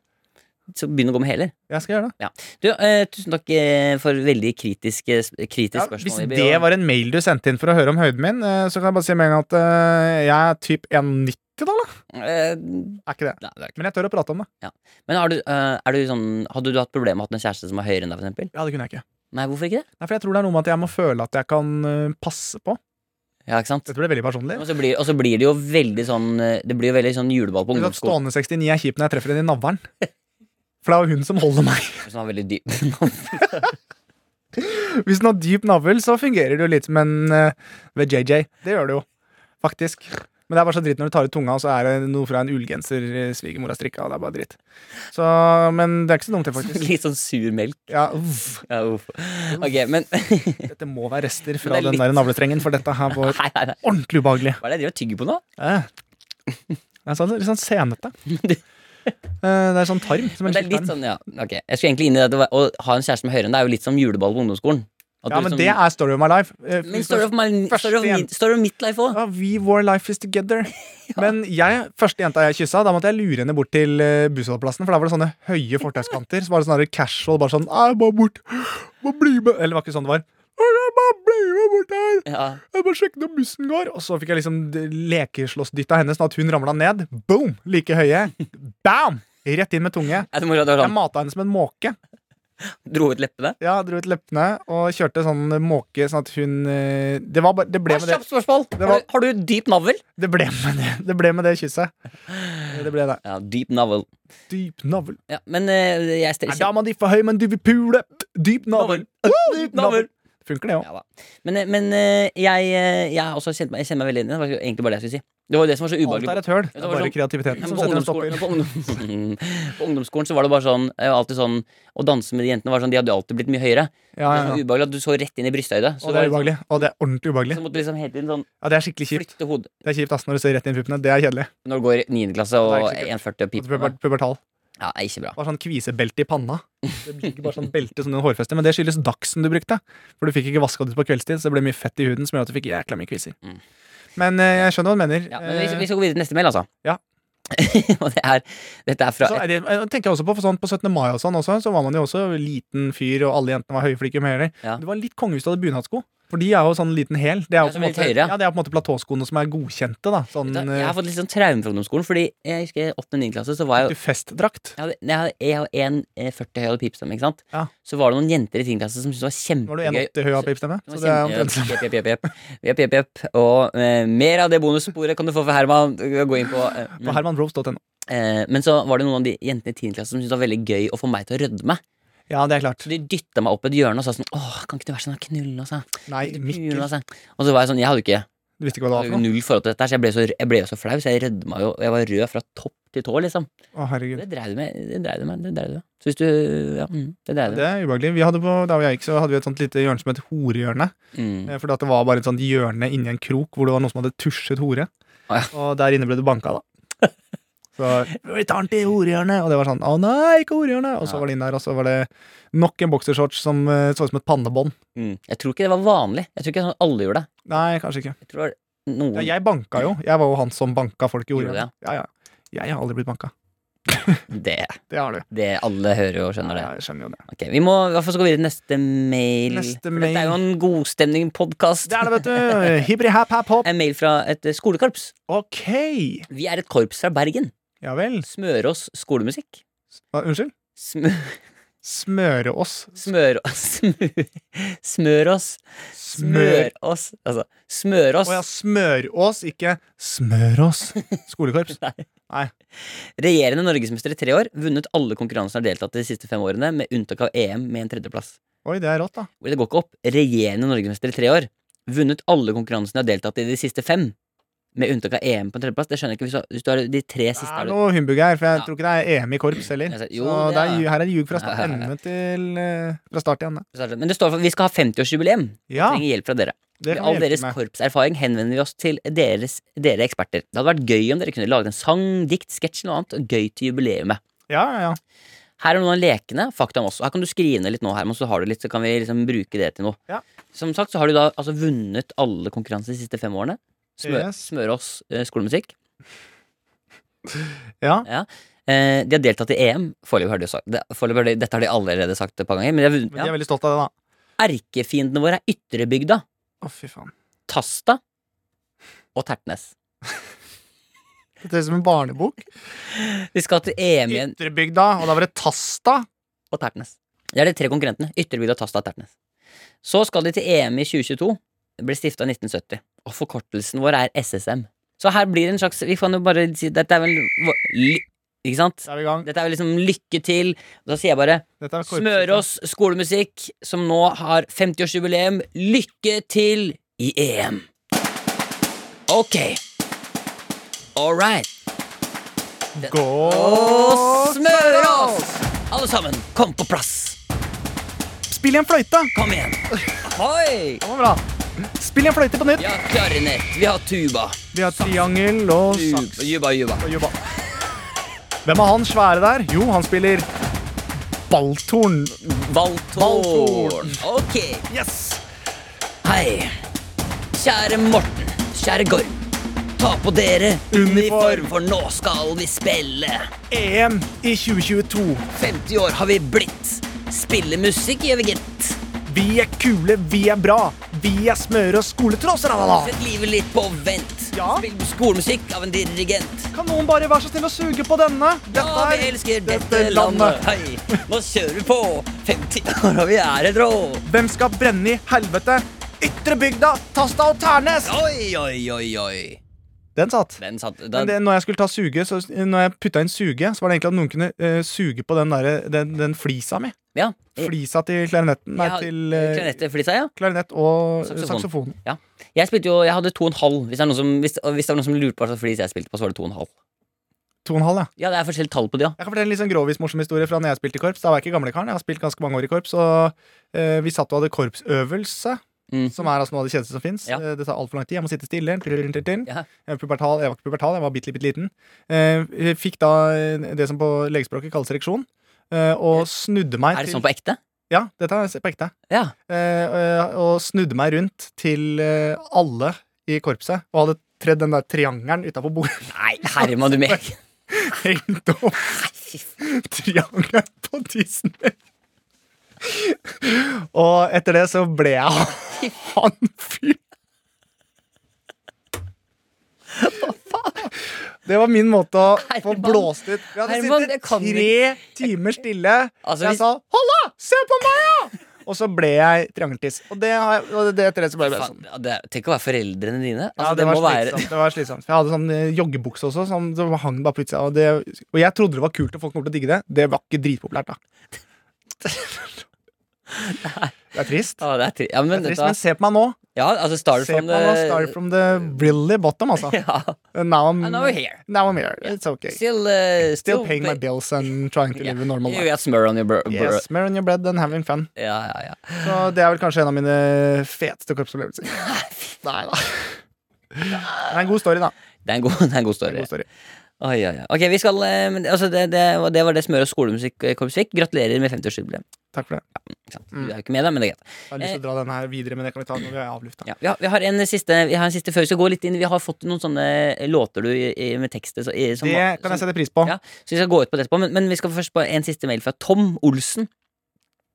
[SPEAKER 2] Så begynn å gå med hæler
[SPEAKER 3] Jeg skal gjøre det.
[SPEAKER 2] Du, eh, tusen takk eh, for veldig kritiske, kritisk
[SPEAKER 3] Ja,
[SPEAKER 2] spørsmål
[SPEAKER 3] hvis
[SPEAKER 2] Ibi,
[SPEAKER 3] det
[SPEAKER 2] og-
[SPEAKER 3] var en mail du sendte inn for å høre om høyden min, eh, så kan jeg bare si med en gang at eh, jeg er typ 1,90, da, eller?
[SPEAKER 2] Eh, nei,
[SPEAKER 3] Er ikke det.
[SPEAKER 2] det er ikke.
[SPEAKER 3] Men jeg tør å prate om det.
[SPEAKER 2] Men har du, eh, er du sånn, hadde du hatt problemer med å ha en kjæreste som er høyere enn deg for eksempel?
[SPEAKER 3] Ja, det kunne jeg ikke.
[SPEAKER 2] Nei, hvorfor ikke det?
[SPEAKER 3] Nei, for jeg tror det er noe med at jeg må føle at jeg kan eh, passe på.
[SPEAKER 2] Ja, ikke sant?
[SPEAKER 3] Jeg tror det er veldig personlig.
[SPEAKER 2] Og så blir, og så blir det jo veldig sånn eh, Det blir jo veldig sånn juleball på
[SPEAKER 3] Ikke sant,
[SPEAKER 2] ungdomsskolen
[SPEAKER 3] Stående 69 er kjip når jeg treffer henne i navlen. For det er jo hun som holder meg.
[SPEAKER 2] Som er veldig dyp
[SPEAKER 3] Hvis hun har dyp navl, så fungerer det jo litt som en eh, ved JJ. Det gjør det jo, faktisk. Men det er bare så dritt når du tar ut tunga, og så er det noe fra en ullgenser eh, svigermor har strikka. og Det er bare dritt. Så, men det er ikke så dumt, det, faktisk.
[SPEAKER 2] Litt sånn sur melk
[SPEAKER 3] Ja, uff.
[SPEAKER 2] ja, uff. Ok, men
[SPEAKER 3] Dette må være rester
[SPEAKER 2] Men
[SPEAKER 3] fra
[SPEAKER 2] det er
[SPEAKER 3] den
[SPEAKER 2] litt-
[SPEAKER 3] der navletrengen, for dette her var
[SPEAKER 2] Nei, nei, nei
[SPEAKER 3] ordentlig ubehagelig.
[SPEAKER 2] Hva er det jeg driver og tygger på nå?
[SPEAKER 3] Eh. Det er sånn, litt sånn senete. Eh, Det er sånn tarm. Som
[SPEAKER 2] Men
[SPEAKER 3] en
[SPEAKER 2] det er litt
[SPEAKER 3] skiltarm.
[SPEAKER 2] sånn, ja Ok, jeg skulle egentlig inn i det at det var- Å ha en kjæreste som er høyere enn deg Er jo litt som juleball på ungdomsskolen At
[SPEAKER 3] Ja,
[SPEAKER 2] du
[SPEAKER 3] men
[SPEAKER 2] liksom-
[SPEAKER 3] det er story of my life. Eh,
[SPEAKER 2] Men Story of, my,
[SPEAKER 3] Første
[SPEAKER 2] story of,
[SPEAKER 3] igjen.
[SPEAKER 2] min, story of Midlife òg.
[SPEAKER 3] Ja, we wore life is together. Men jeg, første jenta jeg kyssa, da måtte jeg lure henne bort til eh, bussholdeplassen. For da var det sånne høye fortauskanter. Så var det sånn der casual, bare sånn «Nei, 'Jeg må bort. Må bli med.' Eller det var ikke sånn det var. «Nei, Jeg må bli med bort her.
[SPEAKER 2] Ja.
[SPEAKER 3] Jeg må sjekke når bussen går. Og så fikk jeg liksom d- lekeslåssdytt av henne, sånn at hun ramla ned. Boom! Like høye. Bam! Rett inn med tunge.
[SPEAKER 2] Jeg tror morsomt at det var
[SPEAKER 3] Jeg
[SPEAKER 2] sånn
[SPEAKER 3] mata henne som en måke.
[SPEAKER 2] Dro ut leppene.
[SPEAKER 3] Ja, dro ut leppene og kjørte sånn måke, sånn at hun eh, Det, var, bare- det, ble, med det,
[SPEAKER 2] Kjapt spørsmål!
[SPEAKER 3] var-
[SPEAKER 2] Har, du, har du dyp navl?
[SPEAKER 3] det, ble, med det, det ble med det kysset. Det ble det.
[SPEAKER 2] Ja, dyp navl.
[SPEAKER 3] Dyp navl.
[SPEAKER 2] Ja, men eh, jeg
[SPEAKER 3] Er
[SPEAKER 2] stiller
[SPEAKER 3] dama di for høy, men du vil pule? Dyp navl. Dyp navl. Funker det òg.
[SPEAKER 2] Ja da. Men, eh, men eh, jeg, eh, jeg, har også kjent meg, jeg kjenner meg veldig inn i det. Det var egentlig bare det jeg skulle si. Det var jo det som var så
[SPEAKER 3] Alt
[SPEAKER 2] ubehagelig.
[SPEAKER 3] er et
[SPEAKER 2] Ja,
[SPEAKER 3] høl. Det
[SPEAKER 2] det
[SPEAKER 3] er
[SPEAKER 2] var
[SPEAKER 3] bare
[SPEAKER 2] sånn-
[SPEAKER 3] kreativiteten
[SPEAKER 2] på,
[SPEAKER 3] som setter en
[SPEAKER 2] ungdomsskolen,
[SPEAKER 3] stopper.
[SPEAKER 2] på, ungdom, på ungdomsskolen så var det bare sånn Jeg var alltid sånn Å danse med de jentene var sånn De hadde jo alltid blitt mye høyere.
[SPEAKER 3] Ja,
[SPEAKER 2] Det var
[SPEAKER 3] ja,
[SPEAKER 2] så
[SPEAKER 3] ja.
[SPEAKER 2] ubehagelig at du så rett inn i brysthøyde. Så
[SPEAKER 3] Og det er
[SPEAKER 2] var
[SPEAKER 3] ubehagelig. Og det er ordentlig
[SPEAKER 2] sånn-
[SPEAKER 3] ubehagelig.
[SPEAKER 2] Så måtte du liksom hele tiden sånn
[SPEAKER 3] Ja, Det er skikkelig kjipt.
[SPEAKER 2] flytte hodet
[SPEAKER 3] Det er kjipt ass, når du ser rett inn i puppene. Det er kjedelig.
[SPEAKER 2] når du går i 9. klasse
[SPEAKER 3] Det er
[SPEAKER 2] og
[SPEAKER 3] ikke sikkert.
[SPEAKER 2] 1,40 og
[SPEAKER 3] Og
[SPEAKER 2] piper.
[SPEAKER 3] puber- Pubertal.
[SPEAKER 2] Ja, det er ikke bra.
[SPEAKER 3] Bare sånn kvisebelte i panna. Det blir ikke bare sånn belte som den hårfeste, Men det skyldes dagsen du brukte. For du fikk ikke vaska det ut på kveldstid, så det ble mye fett i huden som gjorde at du fikk jækla mye kviser.
[SPEAKER 2] Mm.
[SPEAKER 3] Men eh, jeg skjønner hva du mener.
[SPEAKER 2] Ja, men vi,
[SPEAKER 3] Eh,
[SPEAKER 2] vi skal gå videre til neste mail, altså.
[SPEAKER 3] Ja.
[SPEAKER 2] og det er Dette er fra
[SPEAKER 3] Så er det, jeg tenker også På for sånn på 17. mai og sånn også, så var man jo også liten fyr, og alle jentene var høyflikke med hæler.
[SPEAKER 2] Ja.
[SPEAKER 3] Det var litt konge hvis du hadde bunadssko. For de er jo sånn liten hæl. Det er
[SPEAKER 2] Ja,
[SPEAKER 3] jo på
[SPEAKER 2] som
[SPEAKER 3] en
[SPEAKER 2] er litt
[SPEAKER 3] måte,
[SPEAKER 2] høyere, ja.
[SPEAKER 3] ja, det er på en måte platåskoene som er godkjente, da. Sånn
[SPEAKER 2] Vet du, Jeg har
[SPEAKER 3] eh,
[SPEAKER 2] fått litt sånn traume fra ungdomsskolen, fordi jeg husker i 8. og 9. klasse så var jeg jo
[SPEAKER 3] du festdrakt.
[SPEAKER 2] jeg hadde- jeg hadde- jeg var 1,40 høy og hadde pipestemme, ikke sant?
[SPEAKER 3] Ja.
[SPEAKER 2] Så var det noen jenter i 10. klasse som syntes det
[SPEAKER 3] Nå
[SPEAKER 2] var
[SPEAKER 3] var du
[SPEAKER 2] kjempegøy.
[SPEAKER 3] 1,80 høy av pipestemme.
[SPEAKER 2] Det var
[SPEAKER 3] Så det er
[SPEAKER 2] kjempe-
[SPEAKER 3] omtrent
[SPEAKER 2] Jepp, jepp, jepp, jepp. Jepp, jepp, jepp. Og eh, mer av det bonussporet kan du få fra Herman. Gå inn på, eh,
[SPEAKER 3] på
[SPEAKER 2] men,
[SPEAKER 3] hermanrose.no.
[SPEAKER 2] eh, men så var det noen av de jentene i 10. klasse som syntes det var veldig gøy å få meg til å rødme.
[SPEAKER 3] Ja, det er klart.
[SPEAKER 2] Så de dytta meg opp i et hjørne og sa sånn Åh, kan ikke du være sånn og knulle oss, da?
[SPEAKER 3] Nei, Mikkel.
[SPEAKER 2] Knulle oss, da?» Og så var jeg sånn Jeg hadde jo ikke
[SPEAKER 3] Du visste ikke hva
[SPEAKER 2] Jeg hadde
[SPEAKER 3] det var for
[SPEAKER 2] jo
[SPEAKER 3] noe?
[SPEAKER 2] null forhold til dette, her, så jeg ble så, jeg ble jo så flau, så jeg rødma jo. og Jeg var rød fra topp til tå, liksom.
[SPEAKER 3] Å, herregud.
[SPEAKER 2] Det dreiv du med. Det dreiv du med. Det dreiv du med. Så hvis du Ja, mm, det dreiv du med.
[SPEAKER 3] Det er ubehagelig. Vi hadde på, da jeg gikk, så hadde vi et sånt lite hjørne som het horehjørne.
[SPEAKER 2] Mm.
[SPEAKER 3] Eh, Fordi at det var bare et sånt hjørne inni en krok hvor det var noen som hadde tusjet hore.
[SPEAKER 2] Ah,
[SPEAKER 3] Og der inne ble du banka, da. Så vi tar den til horehjørnet! Og det var sånn Å nei, ikke horehjørnet! Og så
[SPEAKER 2] Ja.
[SPEAKER 3] var det inn der, og så var det nok en boksershorts som eh, så ut som et pannebånd.
[SPEAKER 2] Mm. Jeg tror ikke det var vanlig. Jeg tror ikke sånn alle gjorde det.
[SPEAKER 3] Nei, kanskje ikke.
[SPEAKER 2] Jeg tror det var noen
[SPEAKER 3] Ja, jeg banka jo. Jeg var jo han som banka folk i
[SPEAKER 2] Gjorde du det,
[SPEAKER 3] horehjørnet. Ja, ja. Jeg har aldri blitt banka.
[SPEAKER 2] det,
[SPEAKER 3] Det har du.
[SPEAKER 2] det alle hører og skjønner det.
[SPEAKER 3] Ja, jeg skjønner jo det.
[SPEAKER 2] Ok, Vi må i hvert fall gå videre til neste mail.
[SPEAKER 3] Neste
[SPEAKER 2] For dette er jo
[SPEAKER 3] mail.
[SPEAKER 2] en godstemning-podkast.
[SPEAKER 3] Det er det, vet du. Hibri hap hap hop.
[SPEAKER 2] En mail fra et eh, skolekorps.
[SPEAKER 3] Ok.
[SPEAKER 2] Vi er et korps fra Bergen.
[SPEAKER 3] Ja vel.
[SPEAKER 2] Smørås skolemusikk.
[SPEAKER 3] Ah, Unnskyld?
[SPEAKER 2] Smø,
[SPEAKER 3] Smøre oss.
[SPEAKER 2] smør... Smø, smørås.
[SPEAKER 3] Smør.
[SPEAKER 2] Smørås. Altså, smørås.
[SPEAKER 3] Å ja, smørås, ikke smørås. Skolekorps.
[SPEAKER 2] Regjerende norgesmester i tre år. Vunnet alle konkurransene har deltatt i de siste fem årene, med unntak av EM med en tredjeplass.
[SPEAKER 3] Oi, det er rått, da.
[SPEAKER 2] Det går ikke opp. Regjerende norgesmester i tre år. Vunnet alle konkurransene jeg har deltatt i de siste fem. Med unntak av EM på en tredjeplass. Det skjønner jeg ikke. Hvis du, hvis du har de tre
[SPEAKER 3] Det
[SPEAKER 2] siste
[SPEAKER 3] er
[SPEAKER 2] har du-
[SPEAKER 3] noe humbug her, for jeg
[SPEAKER 2] Ja.
[SPEAKER 3] tror ikke det er EM i korps heller.
[SPEAKER 2] Altså, jo,
[SPEAKER 3] så
[SPEAKER 2] det
[SPEAKER 3] det
[SPEAKER 2] er-
[SPEAKER 3] er, ju- her er det ljug fra
[SPEAKER 2] Ja,
[SPEAKER 3] start,
[SPEAKER 2] ja, ja.
[SPEAKER 3] ende til eh, Fra start til ende.
[SPEAKER 2] Men det står for at vi skal ha 50-årsjubileum.
[SPEAKER 3] Ja,
[SPEAKER 2] Trenger hjelp fra dere.
[SPEAKER 3] det
[SPEAKER 2] Med
[SPEAKER 3] kan
[SPEAKER 2] all
[SPEAKER 3] vi
[SPEAKER 2] deres
[SPEAKER 3] hjelpe med.
[SPEAKER 2] korpserfaring henvender vi oss til deres, dere eksperter. Det hadde vært gøy om dere kunne laget en sang, dikt, sketsj eller noe annet. Gøy til jubileumet.
[SPEAKER 3] Ja, ja, ja.
[SPEAKER 2] Her er noen av lekene. Fakta om oss. Her kan du skrive ned litt nå, Herman, så har du litt, så kan vi liksom bruke det til noe.
[SPEAKER 3] Ja.
[SPEAKER 2] Som sagt så har du da altså vunnet alle konkurranser de siste fem årene. Smør,
[SPEAKER 3] Yes.
[SPEAKER 2] Smørås eh, skolemusikk.
[SPEAKER 3] ja.
[SPEAKER 2] Eh, de har deltatt i EM. Foreløpig har de jo sagt det, foreløpig har de, Dette har de allerede sagt et par ganger. Men de har vunnet,
[SPEAKER 3] Men de
[SPEAKER 2] ja.
[SPEAKER 3] er veldig stolt av det, da.
[SPEAKER 2] Erkefiendene våre er Ytrebygda,
[SPEAKER 3] Å, fy faen.
[SPEAKER 2] Tasta og Tertnes.
[SPEAKER 3] Det ser ut som en barnebok.
[SPEAKER 2] Vi skal til EM igjen
[SPEAKER 3] Ytrebygda, og da var det Tasta.
[SPEAKER 2] og Tertnes. Det er de tre konkurrentene. Ytrebygda, Tasta og Tertnes. Så skal de til EM i 2022. Det ble stifta i 1970. Og forkortelsen vår er SSM. Så her blir det en slags Vi kan jo bare si Dette er vel vår- ly, Ikke sant?
[SPEAKER 3] Da er vi i gang.
[SPEAKER 2] Dette er vel liksom lykke til. Da sier jeg bare
[SPEAKER 3] Dette er korps-
[SPEAKER 2] Smørås skolemusikk, som nå har 50-årsjubileum. Lykke til i EM! Ok. All right.
[SPEAKER 3] Gå
[SPEAKER 2] Og Smørås! Alle sammen, kom på plass.
[SPEAKER 3] Spill igjen fløyta!
[SPEAKER 2] Kom igjen. Hoi!
[SPEAKER 3] Det var bra. Spill igjen fløyte på nytt.
[SPEAKER 2] Vi har klarinett, vi har tuba.
[SPEAKER 3] Vi har triangel og saks.
[SPEAKER 2] Tuba, juba, juba.
[SPEAKER 3] og jobba. Hvem er han svære der? Jo, han spiller Balltorn.
[SPEAKER 2] Valthorn. Ok.
[SPEAKER 3] Yes!
[SPEAKER 2] Hei. Kjære Morten, kjære Gorm. Ta på dere uniform, for nå skal vi spille.
[SPEAKER 3] EM E i 2022.
[SPEAKER 2] 50 år har vi blitt. Spille musikk gjør vi, gitt.
[SPEAKER 3] Vi er kule, vi er bra. via smøre- og skoletrosser. da, da, da.
[SPEAKER 2] Sett livet litt på vent.
[SPEAKER 3] Ja.
[SPEAKER 2] Spill skolemusikk av en dirigent.
[SPEAKER 3] Kan noen bare være så snill å suge på denne?
[SPEAKER 2] Ja,
[SPEAKER 3] Dette
[SPEAKER 2] vi
[SPEAKER 3] er
[SPEAKER 2] elsker
[SPEAKER 3] dette
[SPEAKER 2] dette landet.
[SPEAKER 3] landet.
[SPEAKER 2] Hei, nå kjører vi på. 50 år og vi er et rå.
[SPEAKER 3] Hvem skal brenne i helvete? Ytrebygda, Tasta og Ternes!
[SPEAKER 2] Oi, oi, oi, oi.
[SPEAKER 3] Den satt.
[SPEAKER 2] Den satt
[SPEAKER 3] Men
[SPEAKER 2] den,
[SPEAKER 3] det, når jeg skulle ta suge, så, når jeg putta inn suge, så var det egentlig at noen kunne eh, suge på den, derre- den, den flisa mi.
[SPEAKER 2] Ja.
[SPEAKER 3] Flisa til klarinetten. Nei,
[SPEAKER 2] Jeg har-
[SPEAKER 3] til eh,
[SPEAKER 2] Klarinett for Lisa, ja.
[SPEAKER 3] klarinett og
[SPEAKER 2] Saksofon.
[SPEAKER 3] saksofon. saksofon.
[SPEAKER 2] ja. Jeg spilte jo Jeg hadde to og en halv. Hvis det, er noen som, hvis, hvis det var noen som lurte på hva slags flis jeg spilte på, så var det to og en halv.
[SPEAKER 3] To og en halv, ja.
[SPEAKER 2] Ja, det er forskjellige tall på de, ja.
[SPEAKER 3] Jeg kan fortelle en litt sånn grovis morsom historie fra når jeg spilte i korps. Da var jeg ikke gamlekaren. Jeg har spilt ganske mange år i korps. Og eh, vi satt og hadde korpsøvelse,
[SPEAKER 2] Mm.
[SPEAKER 3] som er altså noe av det kjedeligste som fins.
[SPEAKER 2] Ja.
[SPEAKER 3] det tar altfor lang tid. Jeg må sitte stille.
[SPEAKER 2] Ja.
[SPEAKER 3] Jeg, var pubertal, jeg var ikke pubertal, jeg var bitte, bitte liten. Eh, jeg fikk da eh, det som på legespråket kalles ereksjon. eh, og snudde meg
[SPEAKER 2] Er det
[SPEAKER 3] til
[SPEAKER 2] sånn på ekte?
[SPEAKER 3] Ja, dette er på ekte.
[SPEAKER 2] Ja.
[SPEAKER 3] Eh, og- og snudde meg rundt til eh, alle i korpset, og hadde tredd den der triangelen utafor bordet.
[SPEAKER 2] Nei, Herman, du meg.
[SPEAKER 3] Hengt opp triangelen på tissen min. Og etter det så ble jeg han fyren. Det var min måte å få
[SPEAKER 2] Herman,
[SPEAKER 3] blåst ut. Vi hadde
[SPEAKER 2] Herman, det
[SPEAKER 3] sittet
[SPEAKER 2] kan
[SPEAKER 3] tre timer stille.
[SPEAKER 2] Altså,
[SPEAKER 3] jeg
[SPEAKER 2] hvis-
[SPEAKER 3] sa 'halla, se på meg', ja! Og så ble jeg triangeltiss. Og det, har jeg- og det etter det så ble jeg sånn.
[SPEAKER 2] Faen, ja, det er- Tenk å være foreldrene dine. Altså,
[SPEAKER 3] Ja, det,
[SPEAKER 2] det,
[SPEAKER 3] var
[SPEAKER 2] må være
[SPEAKER 3] slitsomt, det var slitsomt. For Jeg hadde sånn eh, joggebukse også, som som hang bare på utsida. Og, det, og jeg trodde det var kult, og folk kom til å digge det. Det var ikke dritpopulært, da. Det er trist.
[SPEAKER 2] Ja, det er tri ja,
[SPEAKER 3] Det
[SPEAKER 2] men,
[SPEAKER 3] er
[SPEAKER 2] dette-
[SPEAKER 3] trist men se på meg nå.
[SPEAKER 2] ja, altså start
[SPEAKER 3] Se på
[SPEAKER 2] from
[SPEAKER 3] meg nå. Start
[SPEAKER 2] the
[SPEAKER 3] from the really bottom, altså.
[SPEAKER 2] Ja.
[SPEAKER 3] And Now I'm,
[SPEAKER 2] And now we're here.
[SPEAKER 3] now I'm here. It's okay.
[SPEAKER 2] Still, uh,
[SPEAKER 3] Still paying my
[SPEAKER 2] pay-
[SPEAKER 3] bills and trying to
[SPEAKER 2] Yeah.
[SPEAKER 3] live a normal
[SPEAKER 2] You
[SPEAKER 3] life.
[SPEAKER 2] got smør on your bro... bro-
[SPEAKER 3] Yes, smear on your bread and having fun.
[SPEAKER 2] Ja, ja, ja.
[SPEAKER 3] Så det er vel kanskje en av mine feteste korpsopplevelser. Nei da. Det er en god story, da.
[SPEAKER 2] Det er en god, det er en god
[SPEAKER 3] Det er
[SPEAKER 2] story.
[SPEAKER 3] en god story.
[SPEAKER 2] Oi, oi, oi. Ok, vi skal eh, men, altså, det, det, var- det var det smør- og skolemusikk-korpsvik. Gratulerer med 50-årsjubileet.
[SPEAKER 3] Takk for det.
[SPEAKER 2] Ikke sant?
[SPEAKER 3] Mm.
[SPEAKER 2] Du er jo ikke med, da, men det er greit.
[SPEAKER 3] Jeg har lyst til å dra den her videre, men det kan vi ta når vi er avlufta.
[SPEAKER 2] Ja, vi, har, vi, har en siste, vi har en siste før vi skal gå litt inn. Vi har fått noen sånne låter du, i- med tekst så- i- som,
[SPEAKER 3] Det kan jeg sette pris på.
[SPEAKER 2] Ja. Så vi skal gå ut på det etterpå. Men, men vi skal først på en siste mail fra Tom Olsen.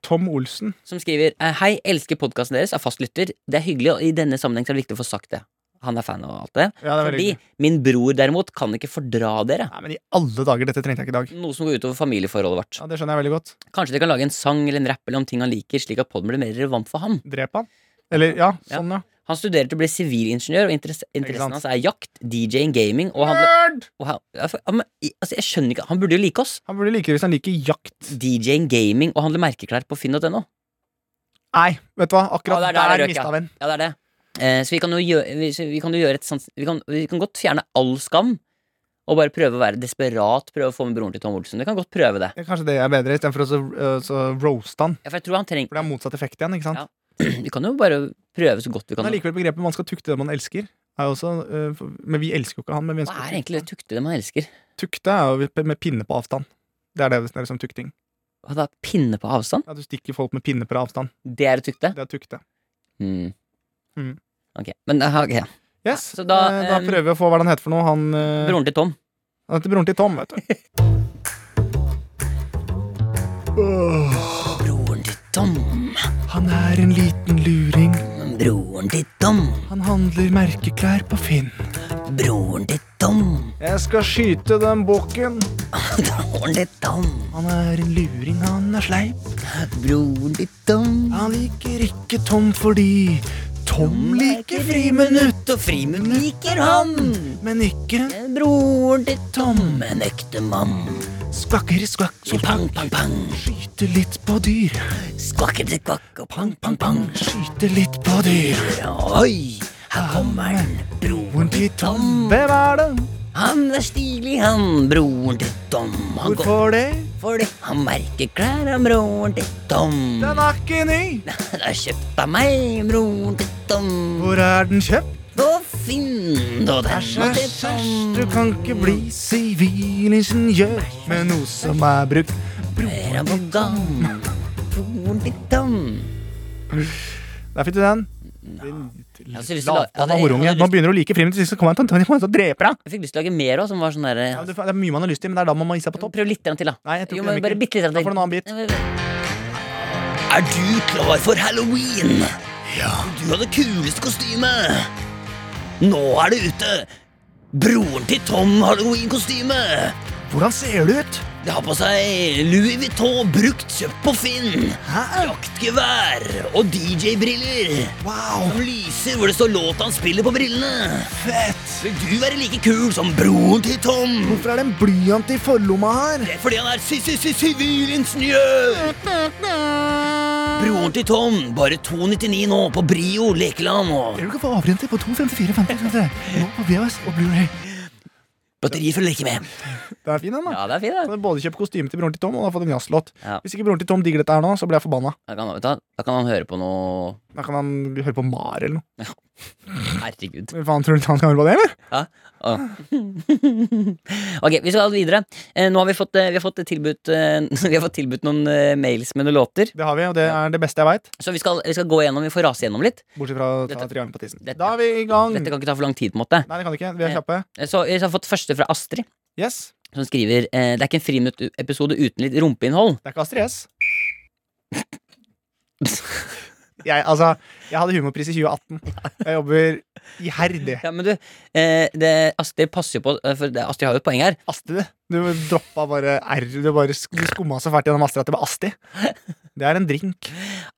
[SPEAKER 3] Tom Olsen.
[SPEAKER 2] som skriver eh, Hei, elsker podkasten deres, er fastlytter. Det er hyggelig, og i denne sammenheng så er det viktig å få sagt det. Han er fan av alt det.
[SPEAKER 3] Ja, det er veldig
[SPEAKER 2] Fordi min bror derimot kan ikke fordra dere.
[SPEAKER 3] Nei, men i alle dager, dette trengte jeg ikke i dag.
[SPEAKER 2] Noe som går utover familieforholdet vårt.
[SPEAKER 3] Ja, Det skjønner jeg veldig godt.
[SPEAKER 2] Kanskje dere kan lage en sang eller en rapp eller om ting han liker, slik at podden blir mer relevant for han.
[SPEAKER 3] Drep han. Eller, ja,
[SPEAKER 2] Ja.
[SPEAKER 3] sånn, ja.
[SPEAKER 2] Han studerer til å bli sivilingeniør, og interesse, interessen
[SPEAKER 3] sant?
[SPEAKER 2] hans er jakt, DJ-ing, gaming og han,
[SPEAKER 3] Nerd!
[SPEAKER 2] og han ja, for- ja, men, i- altså, Jeg skjønner ikke Han burde jo like oss.
[SPEAKER 3] Han burde like det hvis han liker jakt.
[SPEAKER 2] DJ-ing, gaming og handle merkeklær på finn.no.
[SPEAKER 3] Nei, vet du hva,
[SPEAKER 2] Ja,
[SPEAKER 3] akkurat
[SPEAKER 2] det er der
[SPEAKER 3] der,
[SPEAKER 2] det røk,
[SPEAKER 3] mista
[SPEAKER 2] ja.
[SPEAKER 3] venn.
[SPEAKER 2] Ja, det er det. Eh, så vi kan jo gjøre, vi, så vi kan jo gjøre et sånt vi kan, vi kan godt fjerne all skam. Og bare prøve å være desperat, prøve å få med broren til Tom Olsen. Vi kan godt prøve det.
[SPEAKER 3] Ja, Kanskje det er bedre, istedenfor å så, øh, så roaste han.
[SPEAKER 2] Ja, for jeg tror han trenger
[SPEAKER 3] For det er motsatt effekt igjen. ikke sant?
[SPEAKER 2] Ja, sånn. Vi kan jo bare prøve så godt vi kan.
[SPEAKER 3] Men allikevel begrepet 'man skal tukte det man elsker' er jo også øh, for- Men vi elsker jo ikke han, men vi
[SPEAKER 2] Hva
[SPEAKER 3] ønsker
[SPEAKER 2] er egentlig det tukte det man elsker?
[SPEAKER 3] Tukte er jo med pinne på avstand. Det er det som er som tukting.
[SPEAKER 2] Hva da, Pinne på avstand?
[SPEAKER 3] Ja, du stikker folk med pinne på avstand.
[SPEAKER 2] Det er å tukte?
[SPEAKER 3] Det er tukte.
[SPEAKER 2] Hmm.
[SPEAKER 3] Mm.
[SPEAKER 2] Ok, men eh, ok.
[SPEAKER 3] Yes,
[SPEAKER 2] Ja, så
[SPEAKER 3] eh,
[SPEAKER 2] da,
[SPEAKER 3] da,
[SPEAKER 2] eh,
[SPEAKER 3] prøver vi å få hva han heter for noe. Han, eh,
[SPEAKER 2] Broren til Tom.
[SPEAKER 3] han heter broren til Tom, vet du. Åh,
[SPEAKER 2] Broren til Tom.
[SPEAKER 3] han er en liten luring.
[SPEAKER 2] Broren til Tom.
[SPEAKER 3] Han handler merkeklær på Finn.
[SPEAKER 2] Broren til Tom.
[SPEAKER 3] Jeg skal skyte den bukken.
[SPEAKER 2] Broren til Tom.
[SPEAKER 3] Han er en luring, han er sleip.
[SPEAKER 2] Broren til Tom.
[SPEAKER 3] Han liker ikke Tom fordi Tom
[SPEAKER 2] Mm.
[SPEAKER 3] liker friminutt.
[SPEAKER 2] Og Frimen liker han.
[SPEAKER 3] Men ikke
[SPEAKER 2] Broren til Tom, en ekte mann.
[SPEAKER 3] skvakker, skvakk, så
[SPEAKER 2] Pang, pang, pang.
[SPEAKER 3] skyter litt på dyr.
[SPEAKER 2] Skvakker til kvakk og pang, pang, pang.
[SPEAKER 3] Skyter litt på dyr.
[SPEAKER 2] Oi, her kommer han. Broren
[SPEAKER 3] Broren
[SPEAKER 2] til
[SPEAKER 3] til Tom,
[SPEAKER 2] Mm.
[SPEAKER 3] hvem er det?
[SPEAKER 2] Han er stilig, han. Broren til Tom. Han går
[SPEAKER 3] Hvorfor det?
[SPEAKER 2] for det. Han merker klær av broren til Tom.
[SPEAKER 3] Den er ikke ny.
[SPEAKER 2] Den er kjøpt av meg, broren til Tom.
[SPEAKER 3] Hvor er den kjøpt?
[SPEAKER 2] På Finn, og den
[SPEAKER 3] Æsj,
[SPEAKER 2] er til
[SPEAKER 3] æsj, æsj, du
[SPEAKER 2] Tom.
[SPEAKER 3] kan ikke bli sivilingeniør med noe som er brukt.
[SPEAKER 2] Er han på gang? Broren til Tom.
[SPEAKER 3] Der fikk du den.
[SPEAKER 2] Jeg hadde lyst til å- jeg
[SPEAKER 3] Latan
[SPEAKER 2] hadde-
[SPEAKER 3] av horunge.
[SPEAKER 2] jeg hadde
[SPEAKER 3] Nå begynner du å like frem til sist, så kommer han til Antonius og dreper deg.
[SPEAKER 2] Jeg fikk lyst til å lage mer òg, som var sånn derre
[SPEAKER 3] Ja, men Det det er mye man har lyst til, men det er da man må gi seg på topp.
[SPEAKER 2] Prøv litt grann til, da.
[SPEAKER 3] Nei, jeg tror
[SPEAKER 2] jo,
[SPEAKER 3] ikke
[SPEAKER 2] men
[SPEAKER 3] det,
[SPEAKER 2] bare
[SPEAKER 3] Mikkel.
[SPEAKER 2] bitte litt grann
[SPEAKER 3] Da får du en annen bit.
[SPEAKER 2] til. Er du klar for halloween? Du har det kuleste kostymet! Nå er det ute! Broren til Tom har halloweenkostyme!
[SPEAKER 3] Hvordan ser det ut?
[SPEAKER 2] Det har på seg Louis Vuitton brukt kjøpt på Finn. Jaktgevær og DJ-briller.
[SPEAKER 3] Wow,
[SPEAKER 2] Som lyser hvor det står låta han spiller på brillene.
[SPEAKER 3] fett!
[SPEAKER 2] Vil du være like kul som broren til Tom?
[SPEAKER 3] Hvorfor er det en blyant i forlomma her?
[SPEAKER 2] Det er fordi han er sivilingeniør! Broren til Tom, bare 2,99 nå på Brio lekeland. Og
[SPEAKER 4] du kan få avrente på 2.54,50 nå på VHS og Blu-ray.
[SPEAKER 2] batteri følger ikke med.
[SPEAKER 3] Det er fin, den, da.
[SPEAKER 2] Ja, det er fint,
[SPEAKER 3] Han har både kjøpt kostyme til broren til Tom og han har fått en jazzlåt.
[SPEAKER 2] Ja.
[SPEAKER 3] Hvis ikke broren til Tom digger dette her nå, så blir jeg forbanna.
[SPEAKER 2] Da kan, vet du hva, da kan han høre på noe
[SPEAKER 3] Da kan han høre på Mar eller noe.
[SPEAKER 2] Herregud.
[SPEAKER 3] Hva Faen, tror du han kan høre på det, eller?
[SPEAKER 2] Åh. ok, vi skal videre. Eh, nå har vi fått, eh, vi har fått tilbudt eh, Vi har fått tilbudt noen eh, mails med noen låter.
[SPEAKER 3] Det har vi, og det er det beste jeg veit.
[SPEAKER 2] Så vi skal, vi skal gå gjennom, vi får rase gjennom litt.
[SPEAKER 3] Bortsett fra å ta
[SPEAKER 2] Dette-
[SPEAKER 3] triangel på tissen.
[SPEAKER 2] dette-
[SPEAKER 3] Da er vi i gang.
[SPEAKER 2] Dette kan ikke ta for lang tid. på en måte
[SPEAKER 3] Nei, det kan du ikke. Vi er
[SPEAKER 2] Eh.
[SPEAKER 3] kjappe.
[SPEAKER 2] Eh, Så Vi har fått første fra Astrid,
[SPEAKER 3] Yes.
[SPEAKER 2] som skriver eh, Det er ikke en friminuttepisode uten litt rumpeinnhold.
[SPEAKER 3] Det er ikke Astrid S. Jeg, altså, jeg hadde humorpris i 2018. Jeg jobber iherdig.
[SPEAKER 2] Ja, men du, eh, det, Astrid passer jo på eh, For det, Astrid har jo et poeng her.
[SPEAKER 3] Astrid, du droppa bare R. Du bare skumma så fælt gjennom Astrid at det ble Asti. Det er en drink.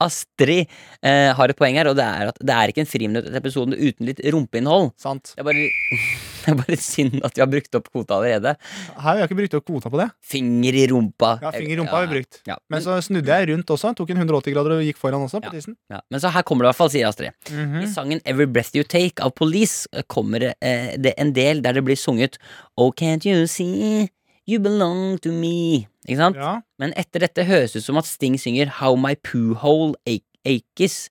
[SPEAKER 2] Astrid eh, har et poeng her, og det er at det er ikke en friminuttepisode uten litt rumpeinnhold.
[SPEAKER 3] Sant.
[SPEAKER 2] Det er bare, det er bare litt synd at vi har brukt opp kvota allerede.
[SPEAKER 3] Her har jeg ikke brukt opp kvota på det.
[SPEAKER 2] Finger i rumpa.
[SPEAKER 3] Ja, Finger i rumpa har vi brukt.
[SPEAKER 2] Ja,
[SPEAKER 3] Men
[SPEAKER 2] men,
[SPEAKER 3] så snudde jeg rundt også. Tok en 180 grader og gikk foran også på tissen.
[SPEAKER 2] ja, men så her kommer det i hvert fall, sier Astrid. I
[SPEAKER 3] Mhm.
[SPEAKER 2] sangen Every Breath You Take av Police eh, kommer eh, det en del der det blir sunget Oh, can't you see you belong to me? Ikke sant?
[SPEAKER 3] Ja.
[SPEAKER 2] Men etter dette høres ut som at Sting synger How my poo hole ach- aches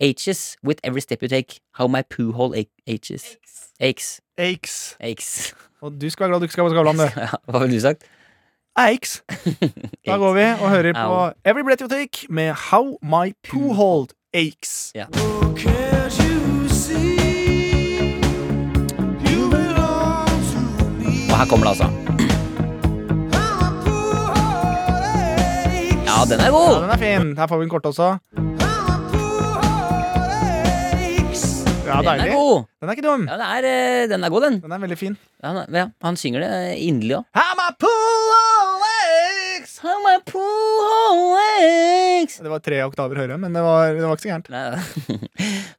[SPEAKER 2] Aches with every step you take How my poo hole ach- aches Aches
[SPEAKER 3] Aches.
[SPEAKER 2] Aches
[SPEAKER 3] Og du skal være glad du ikke skal på Skavlan, du.
[SPEAKER 2] Ja, Hva ville du sagt?
[SPEAKER 3] Aches. Da går vi og hører på
[SPEAKER 2] Au. Mm.
[SPEAKER 3] Every Breath You Take med How My Poo Hold Aches.
[SPEAKER 2] Ja. Og her kommer det altså Ja, den er
[SPEAKER 3] Ja,
[SPEAKER 2] god
[SPEAKER 3] den er fin. Her får vi en kort også. Ja,
[SPEAKER 2] Den er
[SPEAKER 3] deilig.
[SPEAKER 2] god
[SPEAKER 3] Den er ikke dum.
[SPEAKER 2] Ja, den er, eh, den er god den
[SPEAKER 3] Den er veldig fin.
[SPEAKER 2] ja, han- ja, Han synger det eh, inderlig også
[SPEAKER 3] How my pool aches.
[SPEAKER 2] How my poo hole aches
[SPEAKER 3] Det var tre oktaver høyere, men det var, det var ikke så gærent.
[SPEAKER 2] Nei,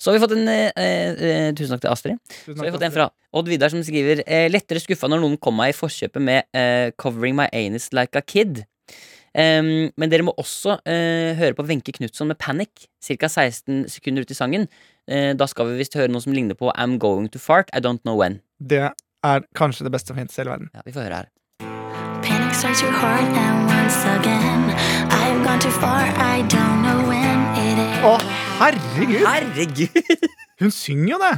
[SPEAKER 2] Så har vi fått en eh, eh, Tusen takk til Astrid Så
[SPEAKER 3] Tusen
[SPEAKER 2] har vi
[SPEAKER 3] takk,
[SPEAKER 2] fått en
[SPEAKER 3] Astrid.
[SPEAKER 2] fra Odd Vidar som skriver eh, Lettere skuffa når noen kom meg i forkjøpet med eh, 'Covering my anus like a kid'. Em, men dere må også eh, høre på Wenche Knutson med 'Panic' ca. 16 sekunder ut i sangen. Eh, da skal vi visst høre noe som ligner på 'I'm going to fart'. I don't know when.
[SPEAKER 3] Det er kanskje det beste som finnes i hele verden.
[SPEAKER 2] Ja, vi får høre her.
[SPEAKER 5] Panic starts too hard and once again I've gone too far, I don't know when it is
[SPEAKER 3] Å, herregud!
[SPEAKER 2] Herregud!
[SPEAKER 3] Hun synger jo det!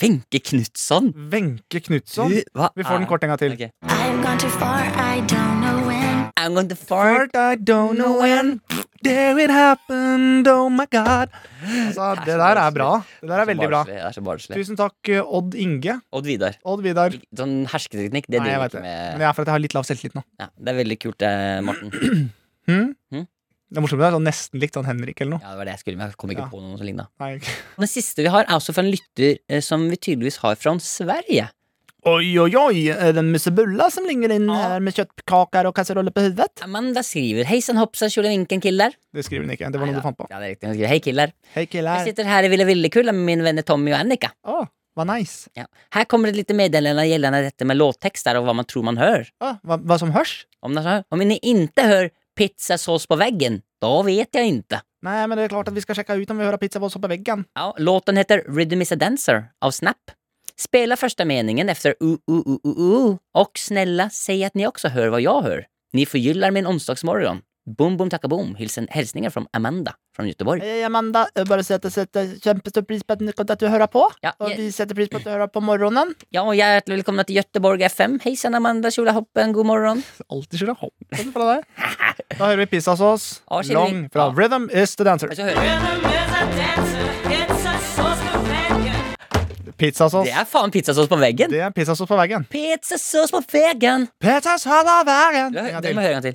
[SPEAKER 2] Wenche Knutson!
[SPEAKER 3] Wenche Knutson.
[SPEAKER 2] Du, hva
[SPEAKER 3] Sånn. Vi får den
[SPEAKER 2] er-
[SPEAKER 3] kort en gang til.
[SPEAKER 2] Ok.
[SPEAKER 5] I've gone too far, I don't know when
[SPEAKER 2] I'm going to fart.
[SPEAKER 3] I don't know when There it happened, oh my god altså, Det der er bra Det der er veldig bra
[SPEAKER 2] Det er så barnslig.
[SPEAKER 3] Tusen takk, eh, Odd Inge
[SPEAKER 2] Odd Vidar.
[SPEAKER 3] Odd Vidar Nei,
[SPEAKER 2] Sånn hersketeknikk, det
[SPEAKER 3] jeg
[SPEAKER 2] driver
[SPEAKER 3] vet
[SPEAKER 2] ikke
[SPEAKER 3] det
[SPEAKER 2] med
[SPEAKER 3] Men det er for at jeg har litt lav selvtillit nå Hm?
[SPEAKER 2] ja, Det er veldig kult, det, Morten.
[SPEAKER 3] Det er morsomt, det er sånn nesten likt sånn Henrik eller noe
[SPEAKER 2] Ja, det var det jeg skulle, men jeg kom ikke
[SPEAKER 3] Ja.
[SPEAKER 2] på noe som ligna.
[SPEAKER 3] Nei.
[SPEAKER 2] Den siste vi har, er også fra en lytter eh, som vi tydeligvis har fra en Sverige.
[SPEAKER 3] Oi, oi, oi, er det en mussebulla som ligger inn
[SPEAKER 2] Ja.
[SPEAKER 3] her med kjøttkaker og kasserolle på hodet?
[SPEAKER 2] Ja, Men da skriver Heisan hoppsan tjolevinken killer.
[SPEAKER 3] Det skriver hun ikke, det var noe
[SPEAKER 2] Neida.
[SPEAKER 3] du fant på
[SPEAKER 2] Ja, det er riktig. Hun skriver hei, killer.
[SPEAKER 3] Hei,
[SPEAKER 2] Jeg
[SPEAKER 3] killer
[SPEAKER 2] sitter her i Ville Villekulla med mine venner Tommy og Annika.
[SPEAKER 3] Å, hva nice
[SPEAKER 2] Ja. Her kommer et lite meddelende gjeldende dette med låttekster og hva man tror man hører.
[SPEAKER 3] Å, hva, hva som hørs?
[SPEAKER 2] Om, det er sånn, om ni ikke hører pizzasås på veggen, da vet jeg ikke.
[SPEAKER 3] Nei, men det er klart at vi skal sjekke ut om vi hører pizza på oss på veggen
[SPEAKER 2] Ja, låten heter Rhythm is a Dancer av Snap. Spela första meningen efter ooh, ooh, ooh, ooh, ooh. Och snälla, säg att ni också hör vad jag hör. Ni förgyllar min onsdagsmorgon. Boom, boom, tacka boom. Hilsen, hälsningar från Amanda från Göteborg.
[SPEAKER 3] Hei, Amanda. Jeg bare setter, setter kjempestor pris på at du- at du hører på.
[SPEAKER 2] Ja,
[SPEAKER 3] Og
[SPEAKER 2] jeg-
[SPEAKER 3] vi setter pris på at du hører på morgenen.
[SPEAKER 2] Ja, och hjärtligt välkomna till Göteborg FM. Hejsan Amanda Kjolahoppen, god morgon.
[SPEAKER 3] Alltid skylder hoppen fra deg. Da hører vi pizzasås.
[SPEAKER 2] Ja, skylder vi.
[SPEAKER 3] Long fra
[SPEAKER 2] Ja.
[SPEAKER 3] Rhythm is the dancer.
[SPEAKER 2] Alltså, hör,
[SPEAKER 3] Pizzasås.
[SPEAKER 2] det är fan pizzasås på väggen.
[SPEAKER 3] Det er pizzasås på veggen.
[SPEAKER 2] Pizzasås på väggen.
[SPEAKER 3] Pizzasås på veggen!
[SPEAKER 2] Det må
[SPEAKER 3] En gang til.
[SPEAKER 2] jag höra en till.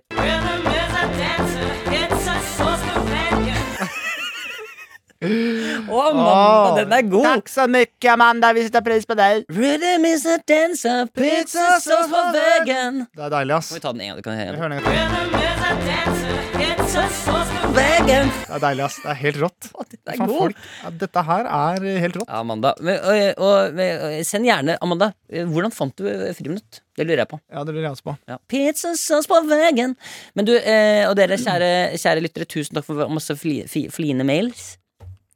[SPEAKER 2] Å, mamma, den er god!
[SPEAKER 3] så mye, Amanda. Vi setter pris på deg.
[SPEAKER 2] Rhythm is a dancer, pizza sauce for vegan.
[SPEAKER 3] Det er deilig, ass.
[SPEAKER 2] Må vi ta den en gang? Kan jeg
[SPEAKER 3] Jeg
[SPEAKER 2] høre den?
[SPEAKER 3] hører den en gang til.
[SPEAKER 2] Vegan.
[SPEAKER 3] Det er deilig, ass. Det er helt rått.
[SPEAKER 2] Det er
[SPEAKER 3] Faen,
[SPEAKER 2] god.
[SPEAKER 3] folk, ja, dette her er helt rått.
[SPEAKER 2] Ja, Amanda. Men, og, og, og, send gjerne, Amanda. eh, Hvordan fant du eh, friminutt? Det lurer jeg på.
[SPEAKER 3] Ja, det lurer jeg også på.
[SPEAKER 2] Ja. Pizza sauce på veggen. Men du, eh, og dere kjære, kjære lyttere, tusen takk for masse fli, fi, fline mails.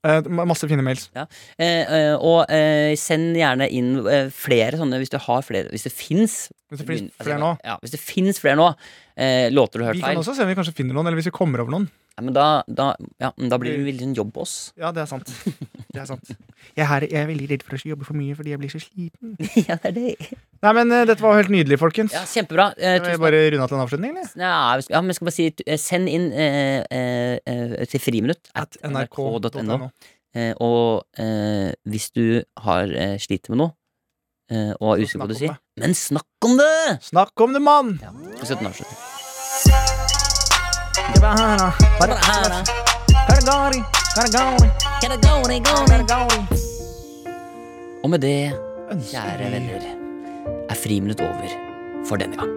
[SPEAKER 3] Eh, ma- masse fine mails.
[SPEAKER 2] Ja. Eh, eh, og eh, send gjerne inn eh, flere sånne hvis du har flere Hvis det fins
[SPEAKER 3] Hvis det finnes flere nå.
[SPEAKER 2] Ja, hvis det finnes flere nå, eh, låter du har
[SPEAKER 3] Vi
[SPEAKER 2] hørt
[SPEAKER 3] kan
[SPEAKER 2] feil,
[SPEAKER 3] også se om vi kanskje finner noen, eller hvis vi kommer over noen.
[SPEAKER 2] ja, men da, da, ja, men da blir det en veldig sånn jobb på oss.
[SPEAKER 3] Ja, det er sant. Det er sant. Jeg, er, jeg er veldig redd for å jobbe for mye fordi jeg blir så sliten.
[SPEAKER 2] ja, det er det.
[SPEAKER 3] Nei, men eh, dette var helt nydelig, folkens.
[SPEAKER 2] Ja, kjempebra. Eh,
[SPEAKER 3] Skal vi
[SPEAKER 2] tusen
[SPEAKER 3] bare runde av til en avslutning, eller?
[SPEAKER 2] Ja, vi skal, ja, men jeg skal bare si eh, Send inn eh, eh, eh, til friminutt at nrk.no. Eh, og eh, hvis du har eh, sliter med noe eh, og er
[SPEAKER 3] Så
[SPEAKER 2] usikker på hva du
[SPEAKER 3] snakk
[SPEAKER 2] sier,
[SPEAKER 3] om
[SPEAKER 2] men snakk om det!
[SPEAKER 3] Snakk om det, mann!
[SPEAKER 2] Ja, vi setter en avslutning. Og med det, kjære venner, er friminutt over for denne gang.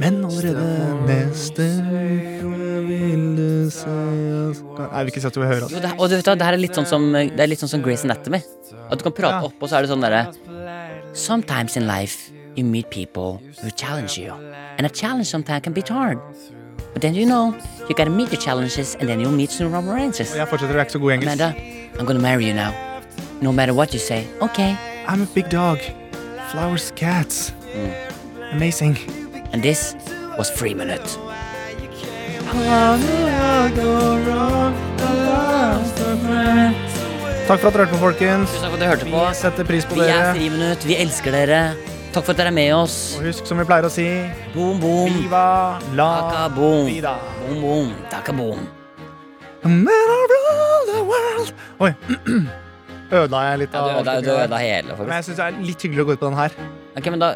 [SPEAKER 3] Men allerede neste uke vil du se oss Nei, vi vil ikke si at du vil høre oss.
[SPEAKER 2] Jo, det, her- og du vet, hva, det her er litt sånn som eh, Det er litt sånn som Grace Anatomy. At du kan prate
[SPEAKER 3] Ja.
[SPEAKER 2] opp, og så er det sånn derre Sometimes in life you meet people who challenge you. And a challenge sometimes can be hard. But then you know you gotta meet your challenges, and then you'll meet some rubber answers.
[SPEAKER 3] Jeg fortsetter, jeg er ikke så god i engelsk.
[SPEAKER 2] Amanda, I'm gonna marry you now. No matter what you say. Okay.
[SPEAKER 3] I'm a big dog. Flowers, cats.
[SPEAKER 2] Mm.
[SPEAKER 3] Amazing.
[SPEAKER 2] And this was Free Minute.
[SPEAKER 3] Takk for at dere hørte på, folkens.
[SPEAKER 2] Tusen takk for at dere hørte
[SPEAKER 3] Vi
[SPEAKER 2] på.
[SPEAKER 3] setter pris på
[SPEAKER 2] Vi er
[SPEAKER 3] dere.
[SPEAKER 2] Friminutt. Vi elsker dere. Takk for at dere er med oss.
[SPEAKER 3] Og husk, som vi pleier å si,
[SPEAKER 2] Boom, boom.
[SPEAKER 3] viva la
[SPEAKER 2] Taka boom.
[SPEAKER 3] vida.
[SPEAKER 2] Boom, boom. Taka boom.
[SPEAKER 3] Men I rule the world Oi. Ødela jeg litt
[SPEAKER 2] Ja,
[SPEAKER 3] av
[SPEAKER 2] du ødela- du
[SPEAKER 3] avslutningen
[SPEAKER 2] ødela hele,
[SPEAKER 3] Men Eh,
[SPEAKER 2] faktisk.
[SPEAKER 3] jeg syns det er litt hyggelig å gå ut på den her.
[SPEAKER 2] Ok, men da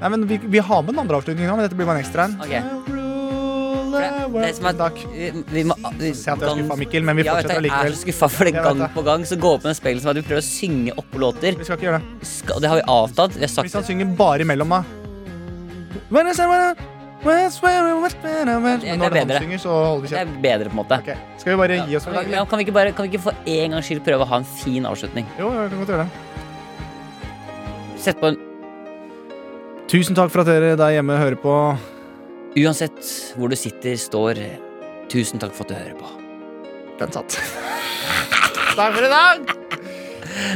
[SPEAKER 3] Nei, men vi, vi har med den andre avslutningen nå, men dette blir bare en ekstra en.
[SPEAKER 2] Ok.
[SPEAKER 3] I rule
[SPEAKER 2] for det,
[SPEAKER 3] the
[SPEAKER 2] det som er,
[SPEAKER 3] world. Takk.
[SPEAKER 2] Vi, vi må, vi,
[SPEAKER 3] Se at jeg er skuffa, Mikkel, men vi
[SPEAKER 2] Ja, vet du,
[SPEAKER 3] fortsetter
[SPEAKER 2] jeg er
[SPEAKER 3] likevel.
[SPEAKER 2] så skuffa for det
[SPEAKER 3] Jeg
[SPEAKER 2] gang
[SPEAKER 3] vet det.
[SPEAKER 2] på gang. Så gå opp med den speilet som at vi prøver å synge oppelåter.
[SPEAKER 3] Vi skal ikke gjøre det.
[SPEAKER 2] Og det har vi avtalt. Vi har sagt
[SPEAKER 3] Hvis han
[SPEAKER 2] det.
[SPEAKER 3] synger bare imellom, da. When I say when I- when I swear I was when I was-
[SPEAKER 2] Det-
[SPEAKER 3] Men når
[SPEAKER 2] det er
[SPEAKER 3] han
[SPEAKER 2] bedre.
[SPEAKER 3] synger, så holder vi
[SPEAKER 2] Det er
[SPEAKER 3] kjeft.
[SPEAKER 2] bedre, på en måte.
[SPEAKER 3] Ok, Skal vi bare gi oss for i dag?
[SPEAKER 2] Ja, kan, vi ikke bare, kan vi ikke for en gangs skyld prøve å ha en fin avslutning?
[SPEAKER 3] Jo, jo, vi kan godt gjøre det.
[SPEAKER 2] Sett på en
[SPEAKER 3] Tusen takk for at dere der hjemme hører på.
[SPEAKER 2] Uansett hvor du sitter, står Tusen takk for at du hører på.
[SPEAKER 3] Den satt. Takk for i dag.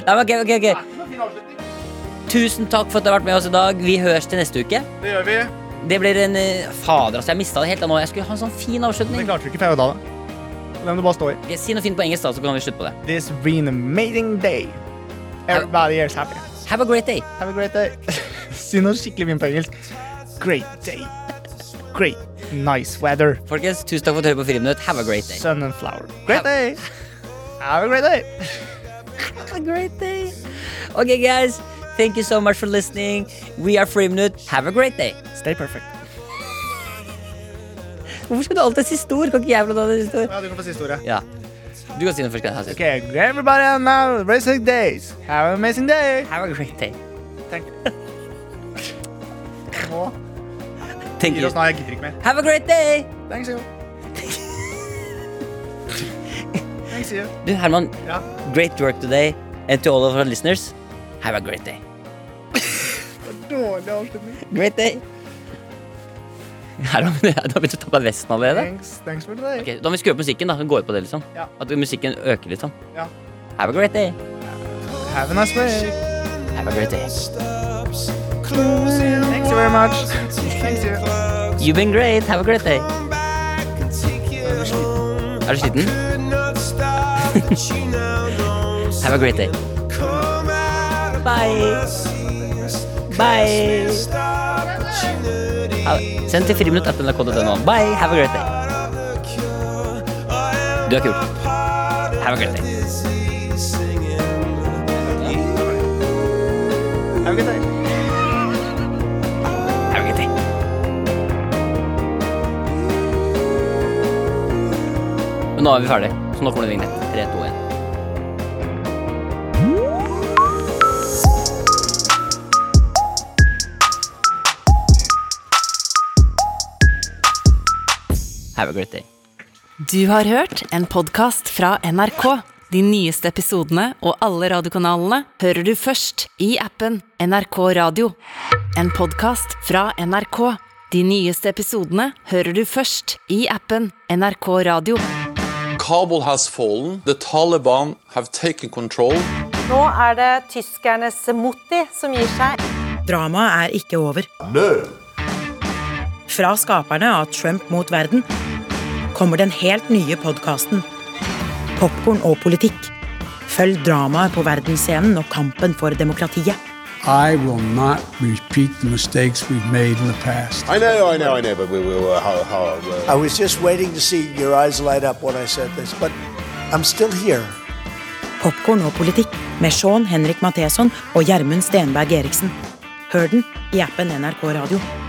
[SPEAKER 2] Nei, men ok, ok, ok Tusen takk for at du har vært med oss i dag. Vi høres til neste uke.
[SPEAKER 3] Det gjør vi.
[SPEAKER 2] Det blir en eh, Fader, altså. Jeg mista det helt da nå. Jeg skulle ha en sånn fin
[SPEAKER 3] Det
[SPEAKER 2] avslutning.
[SPEAKER 3] klarte du ikke, for jeg ødela det. Det må du bare stå i.
[SPEAKER 2] Ok, Si noe fint på engelsk, da, så kan vi slutte på det.
[SPEAKER 3] This been an amazing day. Everybody is happy.
[SPEAKER 2] Have a great day.
[SPEAKER 3] Have a great day. si noe skikkelig fint på engelsk. Great day. Great. Nice weather.
[SPEAKER 2] Folkens, tusen takk for at du hører på Friminutt. Have a great day.
[SPEAKER 3] Sun and flower. Great day. Have a great day.
[SPEAKER 2] Have a great day. Okay, guys. Thank you so much for listening. We are Friminutt. Have a great day.
[SPEAKER 3] Stay perfect.
[SPEAKER 2] Hvorfor skal du alltid si stor? Kan ikke jeg få lov til å ha det stor?
[SPEAKER 3] Ja, du kan få siste ordet.
[SPEAKER 2] Ja. Du kan si den først. Kan jeg ha sist?
[SPEAKER 3] Okay, everybody have now amazing days. Have an amazing day.
[SPEAKER 2] Have a great day.
[SPEAKER 3] Nå
[SPEAKER 2] Thank
[SPEAKER 3] gir
[SPEAKER 2] you.
[SPEAKER 3] oss nå, jeg gidder ikke mer.
[SPEAKER 2] Have a great day.
[SPEAKER 3] Thanks you. Thanks you.
[SPEAKER 2] Du, Herman.
[SPEAKER 3] Ja.
[SPEAKER 2] Great work today. And to all of our listeners, have a great day.
[SPEAKER 3] Dårlig avslutning.
[SPEAKER 2] Great day. Herman, du har begynt å ta på deg vesten allerede.
[SPEAKER 3] Thanks, thanks for today.
[SPEAKER 2] Ok, da må vi skru opp musikken. da. Gå ut på det, liksom.
[SPEAKER 3] Ja.
[SPEAKER 2] At musikken øker litt. sånn.
[SPEAKER 3] Ja.
[SPEAKER 2] Have a great day.
[SPEAKER 3] Have a nice day.
[SPEAKER 2] Have a great day.
[SPEAKER 3] Thanks very much. Thanks you.
[SPEAKER 2] You've been great. Have a great day. Er du sliten? Have a great day. Bye. Bye. Ha- Send til friminutt.nrk.no. Bye. Have a great day. Du er kul. Have a great day.
[SPEAKER 3] Have a good day.
[SPEAKER 2] Have a great day. Men nå er vi ferdig, så nå kommer det vignett. 3, 2, 1. Have a great day.
[SPEAKER 1] Du har hørt en podkast fra NRK. De nyeste episodene og alle radiokanalene hører du først i appen NRK Radio. En podkast fra NRK. De nyeste episodene hører du først i appen NRK Radio.
[SPEAKER 6] Kabul has fallen. The Taliban have taken control.
[SPEAKER 7] Nå er det tyskernes Motti som gir seg.
[SPEAKER 8] Dramaet er ikke over. Fra skaperne av Trump mot verden kommer den helt nye podkasten Popkorn og politikk. Følg dramaet på verdensscenen og kampen for demokratiet.
[SPEAKER 9] I will not repeat the mistakes we've made in the past.
[SPEAKER 10] I know, I know, I know, but we will. Uh, how, how, uh,
[SPEAKER 11] I was just waiting to see your eyes light up when I said this, but I'm still here.
[SPEAKER 8] Popkorn og politikk med Sean Henrik Matheson og Gjermund Stenberg Eriksen. Hør den i appen NRK Radio.